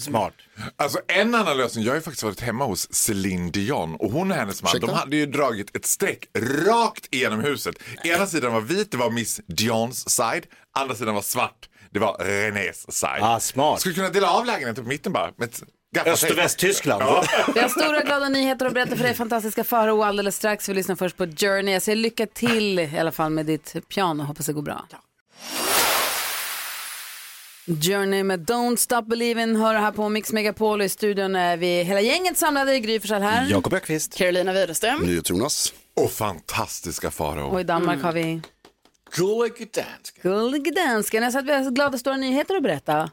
[SPEAKER 3] Smart.
[SPEAKER 8] Alltså en annan lösning, jag har ju faktiskt varit hemma hos Celine Dion och hon och hennes man,
[SPEAKER 5] Ursäkta?
[SPEAKER 8] de hade ju dragit ett streck rakt igenom huset. Ena sidan var vit, det var Miss Dions side, andra sidan var svart, det var Renés side.
[SPEAKER 3] Ah, smart.
[SPEAKER 8] Skulle kunna dela av lägenheten på mitten bara. Med ett gaffatejp.
[SPEAKER 3] Öst och Västtyskland.
[SPEAKER 2] Vi har stora glada nyheter att berätta för dig, fantastiska Farao, alldeles strax. Vi lyssnar först på Journey. Jag säger lycka till i alla fall med ditt piano, hoppas det går bra. Journey med Don't Stop Believin' hör här på Mix Megapol i studion är vi hela gänget samlade i Gry Forssell här.
[SPEAKER 3] Jakob Ökvist.
[SPEAKER 4] Carolina Widerström.
[SPEAKER 5] Jonas.
[SPEAKER 8] Och fantastiska
[SPEAKER 2] Och
[SPEAKER 8] Farao.
[SPEAKER 2] i Danmark har vi
[SPEAKER 6] Gullig dansk.
[SPEAKER 2] Gullig Dansken. Jag sa att vi har glada stora nyheter att berätta.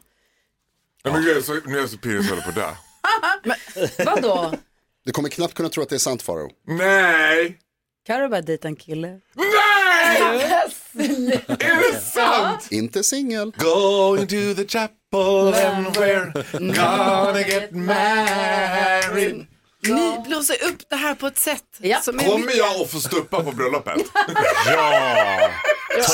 [SPEAKER 8] Ja, men jag är så- Nu är jag så pirrig så jag håller på att dö.
[SPEAKER 2] Vadå?
[SPEAKER 5] Du kommer knappt kunna tro att det är sant Faro.
[SPEAKER 8] Nej!
[SPEAKER 2] Carro bara dejta en kille.
[SPEAKER 8] Nej! Är det
[SPEAKER 4] Ah.
[SPEAKER 8] sant?
[SPEAKER 5] Inte singel.
[SPEAKER 8] Go into the chapel and we're gonna get married.
[SPEAKER 4] Ni blåser upp det här på ett sätt
[SPEAKER 2] Ja.
[SPEAKER 4] som är
[SPEAKER 8] Kommer jag att få stuppa på bröllopet?
[SPEAKER 3] Ja.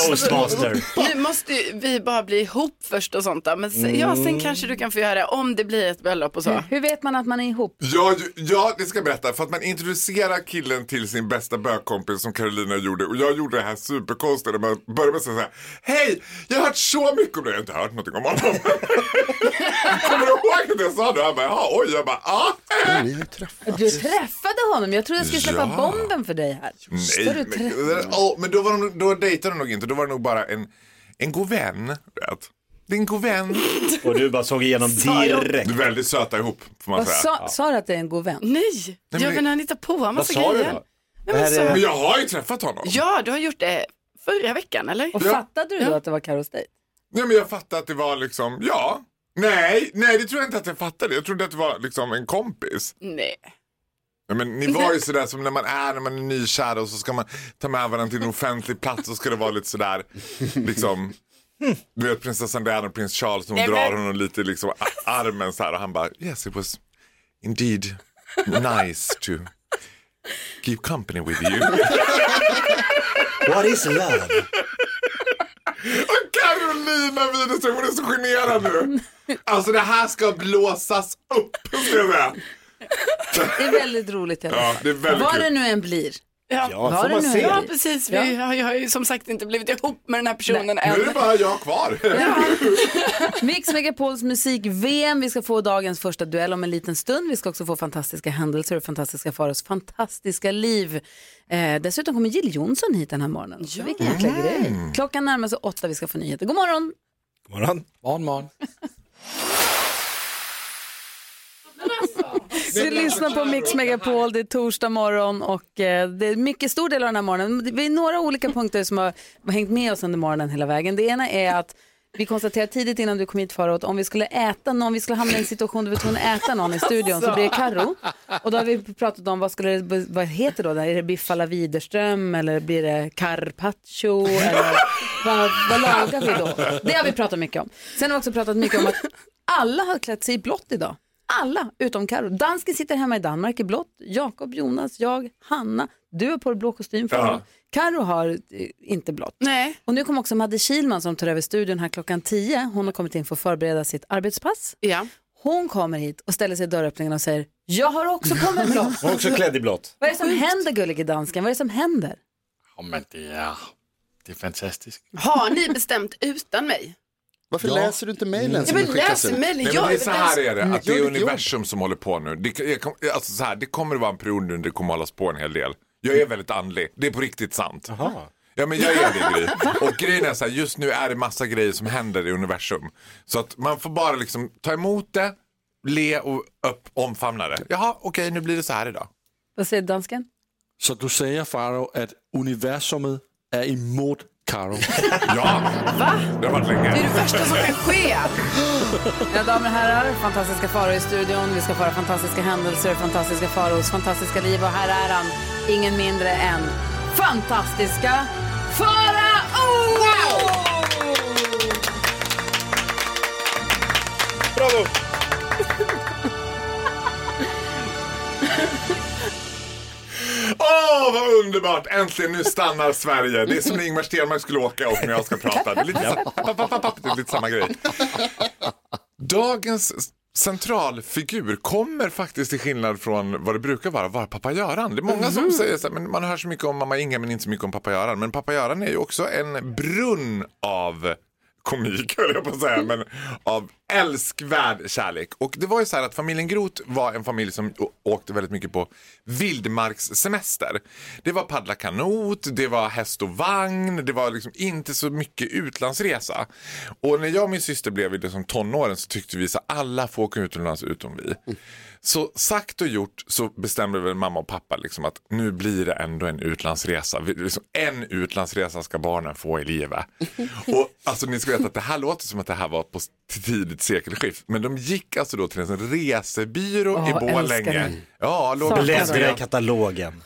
[SPEAKER 3] Toastmaster.
[SPEAKER 4] Nu måste ju vi bara bli ihop först och sånt där. Men sen, ja, sen kanske du kan få göra det om det blir ett bröllop och så.
[SPEAKER 2] Hur vet man att man är ihop?
[SPEAKER 8] Ja, ju- ja, det ska jag berätta. För att man introducerar killen till sin bästa bögkompis som Carolina gjorde. Och jag gjorde det här superkonstiga. när Man började med att säga så här. Hej, jag har hört så mycket om dig. Jag har inte hört någonting om honom. Kommer du ihåg att jag sa det? Han bara, ja, oj. Jag bara, "Ah, ja.
[SPEAKER 4] Ah.
[SPEAKER 5] Ja, ni har ju träffat.
[SPEAKER 2] Du träffade honom. Jag trodde jag skulle släppa
[SPEAKER 8] Ja.
[SPEAKER 2] bomben för dig här.
[SPEAKER 8] Nej,
[SPEAKER 2] Står du trä-
[SPEAKER 8] men, Åh, men då, var de, då dejtade de nog inte. Då var det nog bara en, en god vän. Vet. Det är en god vän.
[SPEAKER 3] Och du bara såg igenom direkt.
[SPEAKER 8] Du är väldigt söta ihop, får man
[SPEAKER 2] Vad
[SPEAKER 8] säga.
[SPEAKER 2] sa, sa du att det är en god vän?
[SPEAKER 4] Nej, jag
[SPEAKER 8] men-
[SPEAKER 4] men han hittar på en
[SPEAKER 3] Vad
[SPEAKER 4] massa
[SPEAKER 3] sa du
[SPEAKER 4] grejer.
[SPEAKER 3] då?
[SPEAKER 4] Nej, men
[SPEAKER 3] Här
[SPEAKER 4] så,
[SPEAKER 3] är-
[SPEAKER 8] Men jag har ju träffat honom.
[SPEAKER 4] ja, du har gjort det förra veckan eller?
[SPEAKER 2] Och
[SPEAKER 8] Ja.
[SPEAKER 2] fattade du då att det var Carros dejt?
[SPEAKER 8] Nej men jag fattade att det var liksom, ja. Nej, nej det tror jag inte att jag fattade. Jag trodde att det var liksom en kompis.
[SPEAKER 4] Nej.
[SPEAKER 8] Nej, men ni var ju sådär som när man är när man är nykär och så ska man ta med varandra till en offentlig plats och ska det vara lite sådär liksom. Du vet prinsessan Diana och prins Charles hon drar honom lite liksom a- armen så här och han bara yes it was indeed nice to keep company with you.
[SPEAKER 3] What is love?
[SPEAKER 8] Och Carolina Widerström, hon är så generad nu. Alltså det här ska blåsas upp. ska jag säga.
[SPEAKER 2] Det är väldigt roligt i alla fall.
[SPEAKER 8] Ja, det är väldigt
[SPEAKER 2] Vad
[SPEAKER 8] kul.
[SPEAKER 2] det nu än blir
[SPEAKER 4] Ja.
[SPEAKER 3] Ja,
[SPEAKER 2] Var
[SPEAKER 3] får
[SPEAKER 2] det
[SPEAKER 3] man
[SPEAKER 2] nu?
[SPEAKER 3] se.
[SPEAKER 4] Ja, precis. Vi har, jag har ju som sagt inte blivit ihop med den här personen än.
[SPEAKER 8] Nu är det bara jag kvar.
[SPEAKER 2] Mix Megapols musik-VM. Vi ska få dagens första duell om en liten stund. Vi ska också få fantastiska händelser och fantastiska faros fantastiska liv. Eh, dessutom kommer Jill Johnson hit den här morgonen. Ja. Vilken jäkla grej. Klockan närmar sig åtta. Vi ska få nyheter. God morgon!
[SPEAKER 3] Morgon.
[SPEAKER 6] Morgon, morgon.
[SPEAKER 2] Du lyssnar på Mix Megapol, det är torsdag morgon och eh, det är en mycket stor del av den här morgonen. Vi är några olika punkter som har hängt med oss under morgonen hela vägen. Det ena är att vi konstaterade tidigt innan du kom hit förra året, om vi skulle äta någon, vi skulle hamna i en situation där vi var tvungna att äta någon i studion så blir det Karo. Och då har vi pratat om vad, skulle det, vad heter då det? Är det Biffala Widerström eller blir det Carpaccio? Eller vad, vad lagar vi då? Det har vi pratat mycket om. Sen har vi också pratat mycket om att alla har klätt sig i blått idag. Alla utom Karo. Dansken sitter hemma i Danmark i blått. Jakob, Jonas, jag, Hanna. Du är på blå kostym för honom. Karo har eh, inte blått.
[SPEAKER 4] Nej.
[SPEAKER 2] Och nu kommer också Madde Kilman som tar över studion här klockan 10. Hon har kommit in för att förbereda sitt arbetspass.
[SPEAKER 4] Ja.
[SPEAKER 2] Hon kommer hit och ställer sig i dörröppningen och säger Jag har också på mig blått.
[SPEAKER 3] Hon är också klädd i blått.
[SPEAKER 2] Vad är det som händer gullige dansken? Vad är det som händer?
[SPEAKER 6] Ja, men det är, det är fantastiskt.
[SPEAKER 4] Har ni bestämt utan mig?
[SPEAKER 5] Varför
[SPEAKER 6] Ja.
[SPEAKER 5] läser du inte mejlen
[SPEAKER 4] Mm. Ja,
[SPEAKER 5] som
[SPEAKER 4] men
[SPEAKER 5] du skickas
[SPEAKER 4] läs
[SPEAKER 5] ut?
[SPEAKER 4] mejlen.
[SPEAKER 8] Nej,
[SPEAKER 4] Jag
[SPEAKER 8] men det är
[SPEAKER 4] väl
[SPEAKER 8] så här
[SPEAKER 4] den-
[SPEAKER 8] är det, att det
[SPEAKER 5] gör
[SPEAKER 8] är
[SPEAKER 5] ditt jobb.
[SPEAKER 8] universum som håller på nu. Det, jag kom, alltså så här, det kommer att vara en period nu där det kommer hållas på en hel del. Jag är väldigt andlig, det är på riktigt sant. Ja men jag är det Gry. Och grejen är så här, just nu är det massa grejer som händer i universum. Så att man får bara liksom ta emot det, le och upp, omfamna det. Jaha, okej nu blir det så här idag.
[SPEAKER 2] Vad säger dansken?
[SPEAKER 6] Så du säger, Faro, att universumet är emot Karo.
[SPEAKER 8] Ja, Va? det har varit länge.
[SPEAKER 4] Det är det värsta som kan ske.
[SPEAKER 2] Mina damer och herrar, fantastiska faror i studion. Vi ska föra fantastiska händelser, fantastiska faros, fantastiska liv och här är han, ingen mindre än fantastiska Farao!
[SPEAKER 3] Bravo!
[SPEAKER 8] Åh, vad underbart! Äntligen, nu stannar Sverige. Det är som när Ingmar Stenmark skulle åka och när jag ska prata. Det är lite, så- papp, papp, papp, papp, det är lite samma grej. Dagens centralfigur kommer faktiskt till skillnad från vad det brukar vara, vara pappa Göran. Det är många som säger så här, men man hör så mycket om mamma Inga men inte så mycket om pappa Göran. Men pappa Göran är ju också en brunn av komik, höll jag på att säga, men av älskvärd kärlek. Och det var ju så här att familjen Groth var en familj som å- åkte väldigt mycket på vildmarkssemester. Det var paddla kanot, det var häst och vagn, det var liksom inte så mycket utlandsresa. Och när jag och min syster blev i det som tonåren så tyckte vi så här, alla får åka utomlands utom vi. Så sagt och gjort så bestämde väl mamma och pappa liksom att nu blir det ändå en utlandsresa. Vi- Liksom en utlandsresa ska barnen få i livet. Och alltså ni ska veta att det här låter som att det här var på tidigt sekelskift. Men de gick alltså då till en resebyrå
[SPEAKER 2] Åh,
[SPEAKER 8] i
[SPEAKER 2] älskar
[SPEAKER 8] Borlänge.
[SPEAKER 2] ni.
[SPEAKER 8] Ja, låg
[SPEAKER 2] Saknar
[SPEAKER 3] Läs den här alltså, katalogen.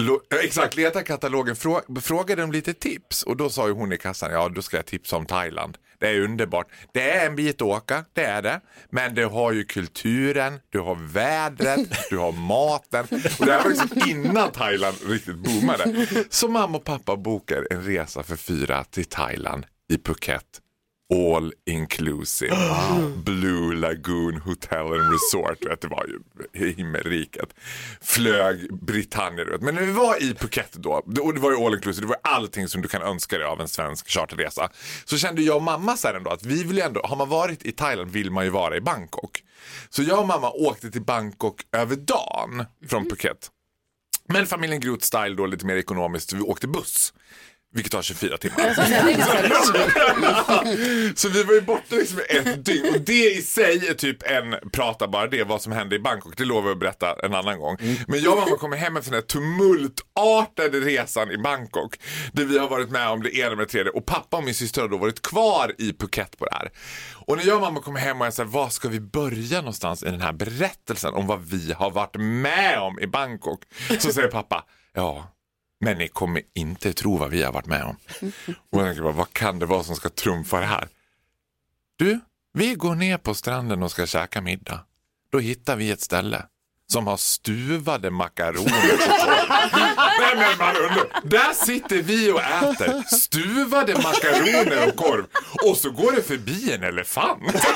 [SPEAKER 8] Lo- ja, Exakt, leta katalogen, frå frågade dem lite tips och då sa ju hon i kassan, ja då ska jag tipsa om Thailand. Det är underbart. Det är en bit att åka, det är det. Men du har ju kulturen, du har vädret, du har maten. Och det här var liksom innan Thailand riktigt boomade. Så mamma och pappa bokar en resa för fyra till Thailand i Phuket all inclusive. Blue Lagoon Hotel and Resort. Vet, det var ju himmelriket. Flög Britannia. du Vet. Men när vi var i Phuket då, det- och det var ju all inclusive, det var allting som du kan önska dig av en svensk charterresa. Så kände jag och mamma så här ändå att vi vill ju ändå, har man varit i Thailand vill man ju vara i Bangkok. Så jag och mamma åkte till Bangkok över dagen från Phuket. Men familjen Groth style då lite mer ekonomiskt, vi åkte buss. Vilket tar 24 timmar. Så vi var ju borta liksom i ett dygn och det i sig är typ en prata bara det vad som hände i Bangkok. Det lovar jag att berätta en annan gång. Men jag och mamma kommer hem efter den här tumultartade resan i Bangkok där vi har varit med om det ena med det tredje och pappa och min syster har då varit kvar i Phuket på det här. Och när jag och mamma kommer hem och jag säger var ska vi börja någonstans i den här berättelsen om vad vi har varit med om i Bangkok så säger pappa ja men ni kommer inte tro vad vi har varit med om. Och jag tänker bara, vad kan det vara som ska trumfa det här? Du, vi går ner på stranden och ska käka middag. Då hittar vi ett ställe som har stuvade makaroner. Nej, men man undrar. Där sitter vi och äter stuvade makaroner och korv och så går det förbi en elefant.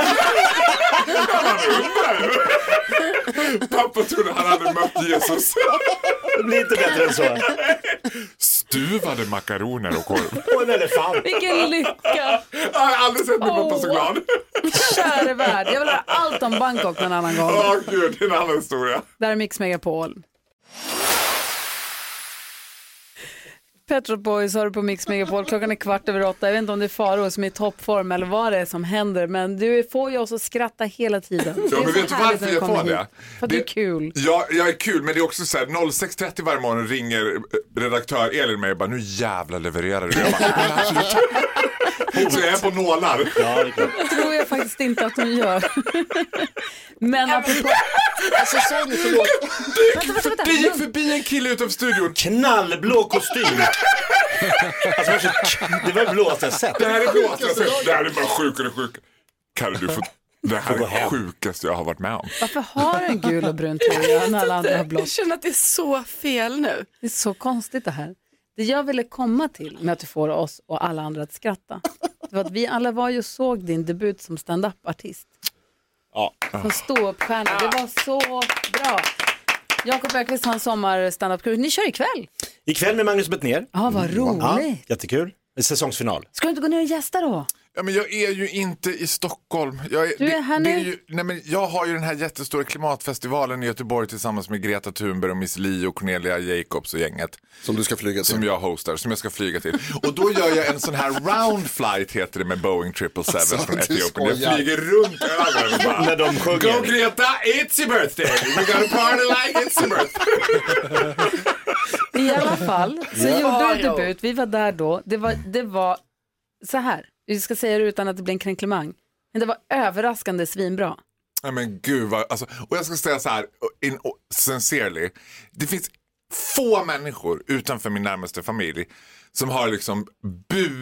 [SPEAKER 8] Ja, man undrar. Pappa trodde han hade mött Jesus.
[SPEAKER 3] Det blir inte bättre än så.
[SPEAKER 8] Stuvade makaroner och korv.
[SPEAKER 3] Och en elefant.
[SPEAKER 2] Vilken lycka,
[SPEAKER 8] Jag har aldrig sett min pappa så
[SPEAKER 2] Åh.
[SPEAKER 8] glad.
[SPEAKER 2] käre värld. Jag vill höra allt om Bangkok någon annan gång.
[SPEAKER 8] Åh gud, det är en annan historia.
[SPEAKER 2] Där är Mix Megapol. Petro Boys har du på Mix Megapol. Klockan är kvart över åtta. Jag vet inte om det är Faro som är i toppform eller vad det är som händer. Men du får ju oss att skratta hela tiden. Det är
[SPEAKER 8] Ja, men
[SPEAKER 2] så
[SPEAKER 8] vet du
[SPEAKER 2] härligt
[SPEAKER 8] varför
[SPEAKER 2] när du
[SPEAKER 8] jag
[SPEAKER 2] kommer
[SPEAKER 8] får det?
[SPEAKER 2] För att det är kul.
[SPEAKER 8] Ja, jag är kul, men det är också så här 06.30 varje morgon ringer eh, redaktör Elin mig och bara nu jävlar levererar du. Jag bara, "Men absolut." så jag är på nålar.
[SPEAKER 3] Ja, det är klart.
[SPEAKER 2] tror jag faktiskt inte att hon gör. Men apropå...
[SPEAKER 5] Alltså sa ni förlåt?
[SPEAKER 2] Vänta, vänta, vänta.
[SPEAKER 8] Det gick
[SPEAKER 2] Lugn.
[SPEAKER 8] förbi en kille utanför studion.
[SPEAKER 3] Knallblå kostym. Alltså, det var så- det var det blåaste jag sett.
[SPEAKER 8] Det här är sjukaste jag sett. Det här är bara sjukare och sjukare. Kalle, du får... Det här är det sjukaste jag har varit med om.
[SPEAKER 2] Varför har du en gul och brun tröja när alla andra har blått?
[SPEAKER 4] Jag känner att det är så fel nu.
[SPEAKER 2] Det är så konstigt det här. Det jag ville komma till med att du får oss och alla andra att skratta, det var att vi alla var ju och såg din debut som stand-up-artist.
[SPEAKER 3] Ja.
[SPEAKER 2] Som ståuppstjärna. Det var så bra. Jakob Öqvist har en sommar stand-up kurs Ni kör ikväll.
[SPEAKER 3] Ikväll med Magnus Bettner.
[SPEAKER 2] Ja, vad
[SPEAKER 3] Mm, Ja,
[SPEAKER 2] roligt.
[SPEAKER 3] jättekul. Det är Säsongsfinal.
[SPEAKER 2] Ska du inte gå ner och gästa då?
[SPEAKER 8] Ja, men jag är ju inte i Stockholm. Jag, är,
[SPEAKER 2] Du är här
[SPEAKER 8] det, det
[SPEAKER 2] nu.
[SPEAKER 8] är ju, nej, men jag har ju den här jättestora klimatfestivalen i Göteborg tillsammans med Greta Thunberg och Miss Li och Cornelia Jacobs och gänget.
[SPEAKER 5] Som du ska flyga
[SPEAKER 8] Som
[SPEAKER 5] till.
[SPEAKER 8] jag hostar, som jag ska flyga till. Och då gör jag en sån här round flight heter det med Boeing 777 från
[SPEAKER 5] du
[SPEAKER 8] Etiopien. Jag
[SPEAKER 5] skojar.
[SPEAKER 8] flyger runt över och bara,
[SPEAKER 3] När de
[SPEAKER 8] Go
[SPEAKER 3] sjunger.
[SPEAKER 8] Greta, it's your birthday! We gotta party like it's your birthday!
[SPEAKER 2] I alla fall så gjorde du debut, vi var där då. Det var, det var så här, vi ska säga det utan att det blir en kränklemang, men det var överraskande svinbra.
[SPEAKER 8] Nej men gud vad, alltså, och jag ska säga så här, in, oh, sincerely, det finns få människor utanför min närmaste familj som har liksom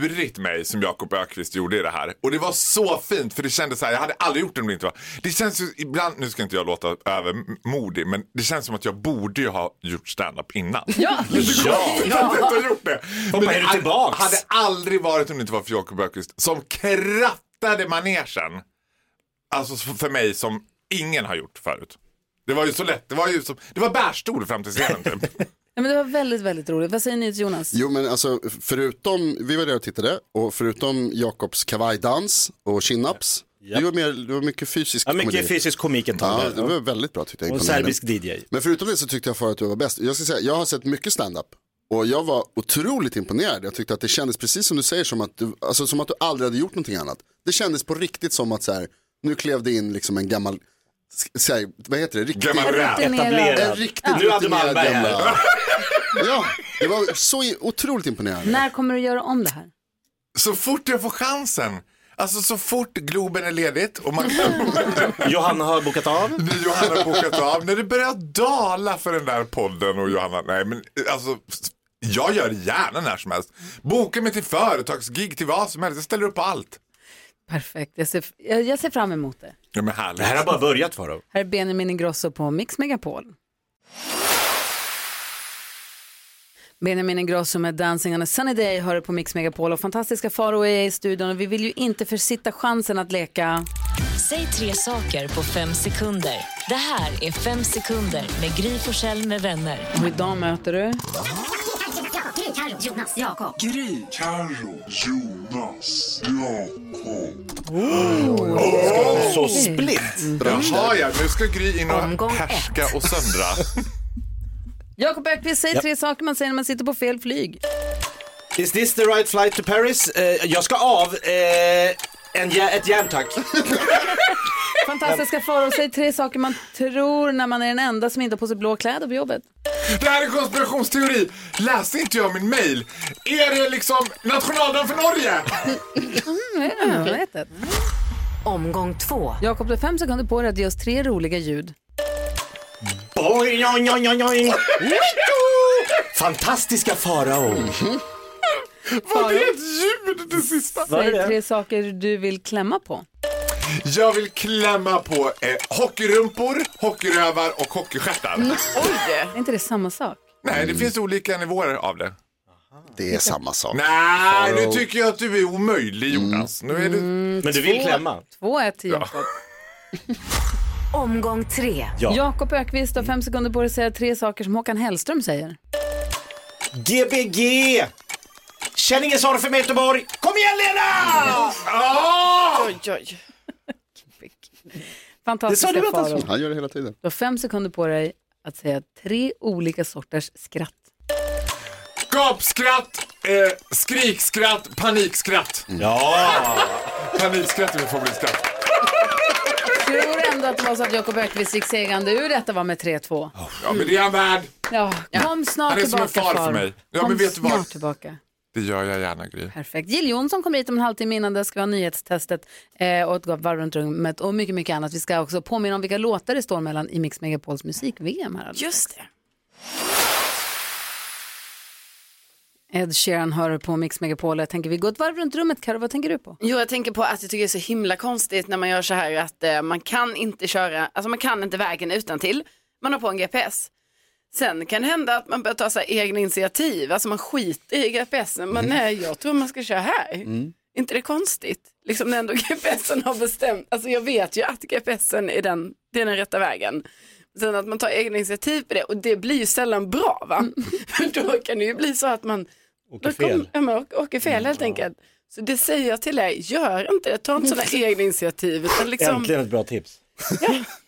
[SPEAKER 8] burit mig som Jakob Ökvist gjorde i det här. Och det var så fint för det kändes så här, jag hade aldrig gjort det om det inte var. Det känns ju ibland, nu ska inte jag låta övermodig, men det känns som att jag borde ju ha gjort stand-up innan. Ja! Lite konstigt att jag inte har gjort det. Men
[SPEAKER 3] är du
[SPEAKER 8] hade-
[SPEAKER 3] tillbaks?
[SPEAKER 8] hade aldrig varit om det inte var för Jakob Ökvist som krattade manegen. Alltså f- för mig som ingen har gjort förut. Det var ju så lätt. Det var ju som, det var bärstol fram till scenen typ.
[SPEAKER 2] Ja, men det var väldigt, väldigt roligt. Vad säger ni till Jonas?
[SPEAKER 5] Jo men alltså förutom, vi var där och tittade och förutom Jakobs kavajdans och chin-ups. Det, var mer, det var mycket fysisk
[SPEAKER 3] Ja, mycket
[SPEAKER 5] komedi.
[SPEAKER 3] fysisk komik ett tag.
[SPEAKER 5] Ja,
[SPEAKER 3] där.
[SPEAKER 5] det var väldigt bra tyckte jag.
[SPEAKER 3] Och
[SPEAKER 5] imponerande.
[SPEAKER 3] serbisk DJ.
[SPEAKER 5] Men förutom det så tyckte jag förut att du var bäst. Jag ska säga, jag har sett mycket stand-up och jag var otroligt imponerad. Jag tyckte att det kändes precis som du säger, som att du, alltså, som att du aldrig hade gjort någonting annat. Det kändes på riktigt som att så här, nu klev det in liksom en gammal, s- så här, vad heter det, riktig,
[SPEAKER 8] Gammal räv.
[SPEAKER 5] en
[SPEAKER 3] Etablerad.
[SPEAKER 5] riktigt
[SPEAKER 3] Nu hade
[SPEAKER 5] rutinerad
[SPEAKER 3] Malmberg här.
[SPEAKER 5] gamla. Ja, det var så i- otroligt imponerande.
[SPEAKER 2] När kommer du göra om det här?
[SPEAKER 8] Så fort jag får chansen. Alltså så fort Globen är ledigt och man
[SPEAKER 3] Johanna har bokat av.
[SPEAKER 8] när Johanna har bokat av. När det börjar dala för den där podden och Johanna. Nej men alltså. Jag gör gärna när som helst. Boka mig till företagsgig, till vad som helst. Jag ställer upp på allt.
[SPEAKER 2] Perfekt, jag ser, jag, jag ser fram emot det.
[SPEAKER 8] Ja men
[SPEAKER 3] Det här har
[SPEAKER 8] härligt.
[SPEAKER 3] bara börjat för dem.
[SPEAKER 2] Här är Benjamin Ingrosso på Mix Megapol. Benjamin Ingrosso med Dancing on a sunny day hör du på Mix Megapol och fantastiska Faro är i studion och vi vill ju inte försitta chansen att leka.
[SPEAKER 9] Säg tre saker på fem sekunder. Det här är Fem sekunder med Gry Forssell med vänner.
[SPEAKER 2] Och idag möter du
[SPEAKER 10] Jonas, Jakob.
[SPEAKER 3] Så split.
[SPEAKER 8] Jaha ja, nu ska Gry in och
[SPEAKER 10] Omgång ett.
[SPEAKER 8] härska och söndra.
[SPEAKER 2] Jakob Öqvist, säg tre saker man säger när man sitter på fel flyg.
[SPEAKER 3] Is this the right flight to Paris? Eh, jag ska av. Eh, en jä- ett järn tack.
[SPEAKER 2] Fantastiska Faro, säg tre saker man tror när man är den enda som inte har på sig blå kläder på jobbet.
[SPEAKER 8] Det här är konspirationsteori. Läste inte jag min mail? Är det liksom nationaldagen för Norge?
[SPEAKER 2] Mm, jag vet det.
[SPEAKER 9] Omgång två.
[SPEAKER 2] Jakob, du har fem sekunder på dig att ge oss tre roliga ljud.
[SPEAKER 3] Boing, oing, oing, oing, oing. Witto! Fantastiska farao.
[SPEAKER 8] Vad är ett ljud det sista?
[SPEAKER 3] Var det
[SPEAKER 2] Säg
[SPEAKER 3] det?
[SPEAKER 2] tre saker du vill klämma på.
[SPEAKER 8] Jag vill klämma på eh, hockeyrumpor, hockeyrövar och hockeystjärtar.
[SPEAKER 4] Oj!
[SPEAKER 2] Är inte det samma sak?
[SPEAKER 8] Nej, det finns olika nivåer av det.
[SPEAKER 5] Det är samma sak. Mm.
[SPEAKER 8] Nej, nu tycker jag att du är omöjlig Jonas. Nu är du...
[SPEAKER 3] Men du vill klämma?
[SPEAKER 2] 2-1 till Jakob.
[SPEAKER 9] Omgång tre.
[SPEAKER 2] Jakob Ökvist har fem sekunder på dig att säga tre saker som Håkan Hellström säger.
[SPEAKER 3] GBG! Känn ingen sorg för Göteborg. Kom igen Lena! Ah!
[SPEAKER 4] Oj, oj.
[SPEAKER 2] Fantastiska
[SPEAKER 3] Det sa du att han
[SPEAKER 2] faror.
[SPEAKER 5] Han gör det hela tiden.
[SPEAKER 2] Du har fem sekunder på dig att säga tre olika sorters skratt.
[SPEAKER 8] Gapskratt, eh, skrikskratt, panikskratt.
[SPEAKER 3] Ja!
[SPEAKER 8] Panikskratt är min favoritskratt.
[SPEAKER 2] Tror ändå att det var så att Jakob Ökvist gick segrande ur detta var med 3-2.
[SPEAKER 8] Ja, men det är han värd.
[SPEAKER 2] Ja, kom snart
[SPEAKER 8] Han är
[SPEAKER 2] tillbaka
[SPEAKER 8] som en far för
[SPEAKER 2] Faro.
[SPEAKER 8] mig. Ja,
[SPEAKER 2] Kom
[SPEAKER 8] men vet du vad?
[SPEAKER 2] snart tillbaka.
[SPEAKER 8] Det gör jag gärna Gry.
[SPEAKER 2] Perfekt. Jill Johnson kommer hit om en halvtimme innan det ska vi ha nyhetstestet eh, och ett varv runt rummet och mycket, mycket annat. Vi ska också påminna om vilka låtar det står mellan i Mix Megapols musik-VM här. alldeles.
[SPEAKER 4] Just det.
[SPEAKER 2] Ed Sheeran hör på Mix Megapol. Jag tänker vi går ett varv runt rummet. Karo, vad tänker du på?
[SPEAKER 4] Jo, jag tänker på att jag tycker det är så himla konstigt när man gör så här att eh, man kan inte köra, alltså man kan inte vägen utan till. Man har på en GPS. Sen kan det hända att man börjar ta så här egna initiativ, alltså man skiter i GPSen,
[SPEAKER 3] Mm.
[SPEAKER 4] men nej, jag tror man ska köra här. inte det konstigt? Liksom när ändå GPSen har bestämt, alltså jag vet ju att GPSen är den, det är den rätta vägen. Sen att man tar egna initiativ på det och det blir ju sällan bra va? För då kan det ju bli så att man
[SPEAKER 3] Mm. Åker
[SPEAKER 4] då
[SPEAKER 3] fel. Mm.
[SPEAKER 4] ja, man åker- åker fel helt enkelt. Så det säger jag till er, gör inte det, ta inte sådana egna initiativ. Utan liksom,
[SPEAKER 3] Äntligen ett bra tips.
[SPEAKER 2] Vet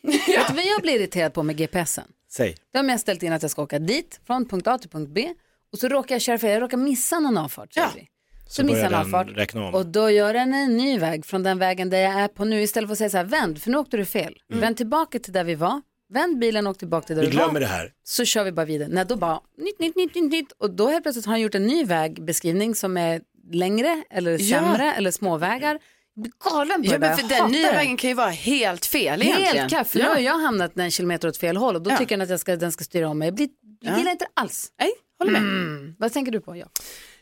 [SPEAKER 2] du vad jag blir irriterad på med GPSen?
[SPEAKER 3] Säg.
[SPEAKER 2] Då har jag ställt in att jag ska åka dit, från punkt A till punkt B. Och så råkar jag köra fel, jag råkar missa någon avfart. säger vi. Så, missar
[SPEAKER 3] börjar
[SPEAKER 2] jag en
[SPEAKER 3] den
[SPEAKER 2] avfart.
[SPEAKER 3] räkna om.
[SPEAKER 2] Och då gör den en ny väg från den vägen där jag är på nu. Istället för att säga så här, vänd, för nu åkte du fel. Vänd tillbaka till där vi var. Vänd bilen och åk tillbaka till där
[SPEAKER 3] Mm. Vi
[SPEAKER 2] du var.
[SPEAKER 3] glömmer det här.
[SPEAKER 2] Så kör vi bara vidare. Nej, då bara nytt, nytt, nytt, nytt, nytt. Och då helt plötsligt har han gjort en ny vägbeskrivning som är längre eller sämre eller småvägar. Jag blir galen på
[SPEAKER 4] ja,
[SPEAKER 2] det där.
[SPEAKER 4] men för
[SPEAKER 2] Jag
[SPEAKER 4] den
[SPEAKER 2] hatar
[SPEAKER 4] nya
[SPEAKER 2] det.
[SPEAKER 4] vägen kan ju vara helt fel egentligen.
[SPEAKER 2] Helt kaff, för nu
[SPEAKER 4] ja.
[SPEAKER 2] har jag hamnat en kilometer åt fel håll och då tycker den att jag ska, den ska styra om mig. Jag, blir, jag gillar inte det alls.
[SPEAKER 4] Nej, håller med.
[SPEAKER 2] Vad tänker du på? Ja.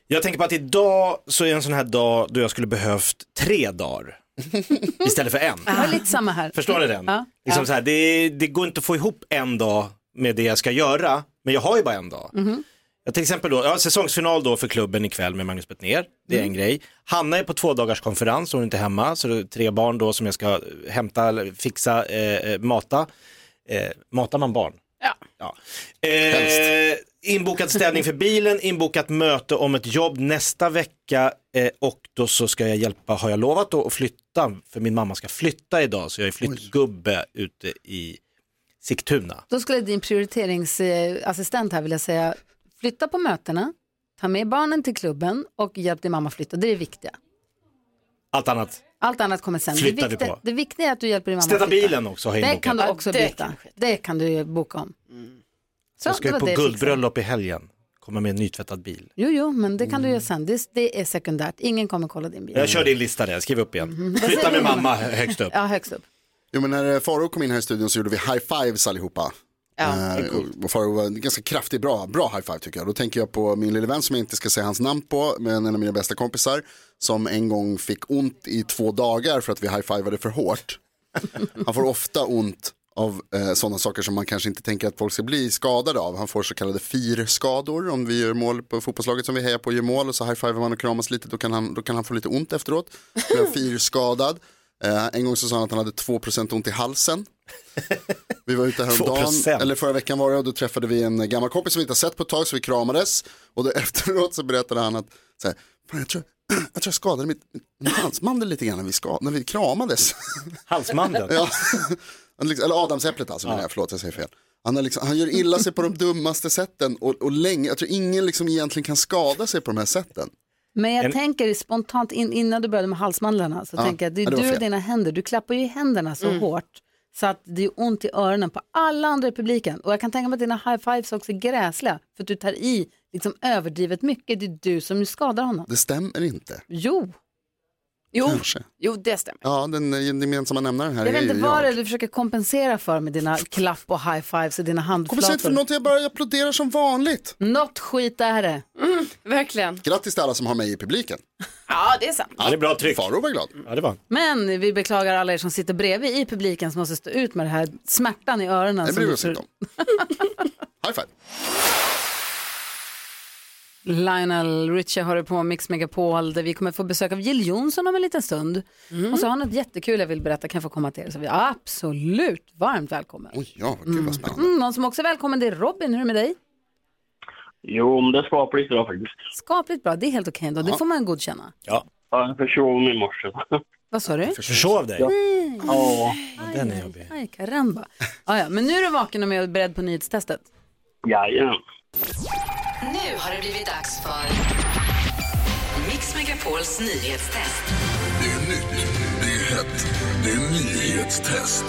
[SPEAKER 3] Jag tänker på att idag så är en sån här dag då jag skulle behövt tre dagar istället för en.
[SPEAKER 4] Ah.
[SPEAKER 2] Det var lite samma här.
[SPEAKER 3] Förstår ni den?
[SPEAKER 2] Ja.
[SPEAKER 3] Liksom så här, det, det går inte att få ihop en dag med det jag ska göra, men jag har ju bara en dag.
[SPEAKER 2] Mhm.
[SPEAKER 3] Jag till exempel då, ja, säsongsfinal då för klubben ikväll med Magnus Bettner, det är
[SPEAKER 2] Mm.
[SPEAKER 3] en grej. Hanna är på två dagars konferens, hon är inte hemma, så det är tre barn då som jag ska hämta, eller fixa, eh, eh, mata. Eh, matar man barn?
[SPEAKER 4] Ja.
[SPEAKER 3] Ja. Eh, inbokad städning för bilen, inbokat möte om ett jobb nästa vecka eh, och då så ska jag hjälpa, har jag lovat då, att flytta, för min mamma ska flytta idag så jag är flyttgubbe ute i Sigtuna.
[SPEAKER 2] Då skulle din prioriteringsassistent här vilja säga, flytta på mötena, ta med barnen till klubben och hjälp din mamma flytta. Det är det viktiga.
[SPEAKER 3] Allt annat,
[SPEAKER 2] Allt annat kommer sen.
[SPEAKER 3] Flyttar
[SPEAKER 2] det,
[SPEAKER 3] vi
[SPEAKER 2] viktiga,
[SPEAKER 3] på.
[SPEAKER 2] det viktiga är att du hjälper din mamma
[SPEAKER 3] städa
[SPEAKER 2] flytta.
[SPEAKER 3] bilen också har jag
[SPEAKER 2] Det kan
[SPEAKER 3] inbokat.
[SPEAKER 2] du också
[SPEAKER 4] Ja, det
[SPEAKER 2] byta.
[SPEAKER 4] kan ske.
[SPEAKER 2] Det kan du boka om. Så,
[SPEAKER 3] Jag ska
[SPEAKER 2] det
[SPEAKER 3] ju
[SPEAKER 2] var
[SPEAKER 3] på
[SPEAKER 2] det jag fixade.
[SPEAKER 3] guldbröllop i helgen, komma med en nytvättad bil.
[SPEAKER 2] Jo, jo, men det kan du göra sen. Det, det är sekundärt. Ingen kommer kolla din bil.
[SPEAKER 3] Jag kör din lista där, skriv upp igen. Flytta med mamma högst upp.
[SPEAKER 2] Mm. Ja, högst upp.
[SPEAKER 5] Jo men när eh, Faro kom in här i studion så gjorde vi high fives allihopa.
[SPEAKER 4] Ja,
[SPEAKER 5] Eh, och- och Faro var en ganska kraftig, bra, bra high five tycker jag. Då tänker jag på min lille vän som jag inte ska säga hans namn på, men en av mina bästa kompisar. Som en gång fick ont i två dagar för att vi high-fivade för hårt. Han får ofta ont av eh, sådana saker som man kanske inte tänker att folk ska bli skadade av. Han får så kallade firskador om vi gör mål på fotbollslaget som vi hejar på och gör mål och så high-fivar man och kramas lite då kan han, då kan han få lite ont efteråt. Då blir han firskadad. Eh, en gång så sa han att han hade 2% ont i halsen. Vi var ute häromdagen,
[SPEAKER 3] 2%.
[SPEAKER 5] eller förra veckan var det och då träffade vi en gammal kompis som vi inte har sett på ett tag så vi kramades och då efteråt så berättade han att så här, Fan, jag, tror, jag tror jag skadade mitt, min halsmandel lite grann när vi, ska, när vi kramades.
[SPEAKER 3] Halsmandeln.
[SPEAKER 5] Ja. Han liksom, eller adamsäpplet alltså, menar jag, förlåt jag säger fel. Han, är liksom, han gör illa sig på de dummaste sätten och, och länge, jag tror ingen liksom egentligen kan skada sig på de här sätten.
[SPEAKER 2] Men jag
[SPEAKER 3] En-
[SPEAKER 2] tänker spontant, in, innan du började med halsmandlarna, så tänker jag att det är
[SPEAKER 5] ja, det var
[SPEAKER 2] du och
[SPEAKER 5] fel.
[SPEAKER 2] dina händer, du klappar ju händerna så hårt så att det är ont i öronen på alla andra i publiken. Och jag kan tänka mig att dina high-fives också är gräsliga, för att du tar i liksom överdrivet mycket. Det är du som skadar honom.
[SPEAKER 5] Det stämmer inte.
[SPEAKER 2] Jo,
[SPEAKER 4] Jo,
[SPEAKER 5] Kanske.
[SPEAKER 4] jo det stämmer.
[SPEAKER 5] Ja, den eh, gemensamma nämnaren här
[SPEAKER 2] Jag vet
[SPEAKER 5] är
[SPEAKER 2] inte
[SPEAKER 5] ju
[SPEAKER 2] vad det är du försöker kompensera för med dina klapp och high fives och dina
[SPEAKER 5] Kommer sent för
[SPEAKER 2] handflator.
[SPEAKER 5] något, jag bara applåderar som vanligt.
[SPEAKER 2] Något skit är det.
[SPEAKER 4] Verkligen.
[SPEAKER 5] Grattis till alla som har mig i publiken.
[SPEAKER 4] Ja, det är sant.
[SPEAKER 3] Ja, det är bra tryck.
[SPEAKER 5] Faro var glad.
[SPEAKER 3] Ja, det
[SPEAKER 2] Mm.
[SPEAKER 3] var.
[SPEAKER 2] Men vi beklagar alla er som sitter bredvid i publiken som måste stå ut med det här smärtan i öronen.
[SPEAKER 5] Det
[SPEAKER 2] som
[SPEAKER 5] bryr vi
[SPEAKER 2] du
[SPEAKER 5] oss
[SPEAKER 2] tror-
[SPEAKER 5] inte om. High five.
[SPEAKER 2] Lionel Richie har det på Mix Megapol där vi kommer få besök av Jill Johnson om en liten stund.
[SPEAKER 5] Mm.
[SPEAKER 2] Och så har han ett jättekul jag vill berätta, kan jag få komma till er? Så vi är absolut varmt välkommen.
[SPEAKER 5] Oj, ja, vad kul vad spännande.
[SPEAKER 2] Mm, någon som också är välkommen det är Robin, hur är det med dig?
[SPEAKER 11] Jo, men det är skapligt idag faktiskt.
[SPEAKER 2] Skapligt bra, det är helt okej ändå, det får man godkänna.
[SPEAKER 3] Ja.
[SPEAKER 11] Ja, Jag försov mig i morse.
[SPEAKER 2] Vad sa du?
[SPEAKER 3] Försov dig.
[SPEAKER 2] Mm.
[SPEAKER 11] Ja,
[SPEAKER 3] Den är jobbig.
[SPEAKER 2] Aj, karamba. Ah, ja. Men nu är du vaken och med och beredd på nyhetstestet.
[SPEAKER 11] jajamän.
[SPEAKER 12] Nu har det blivit dags för Mix Megapols nyhetstest. Det är nytt, det är hett, det är nyhetstest.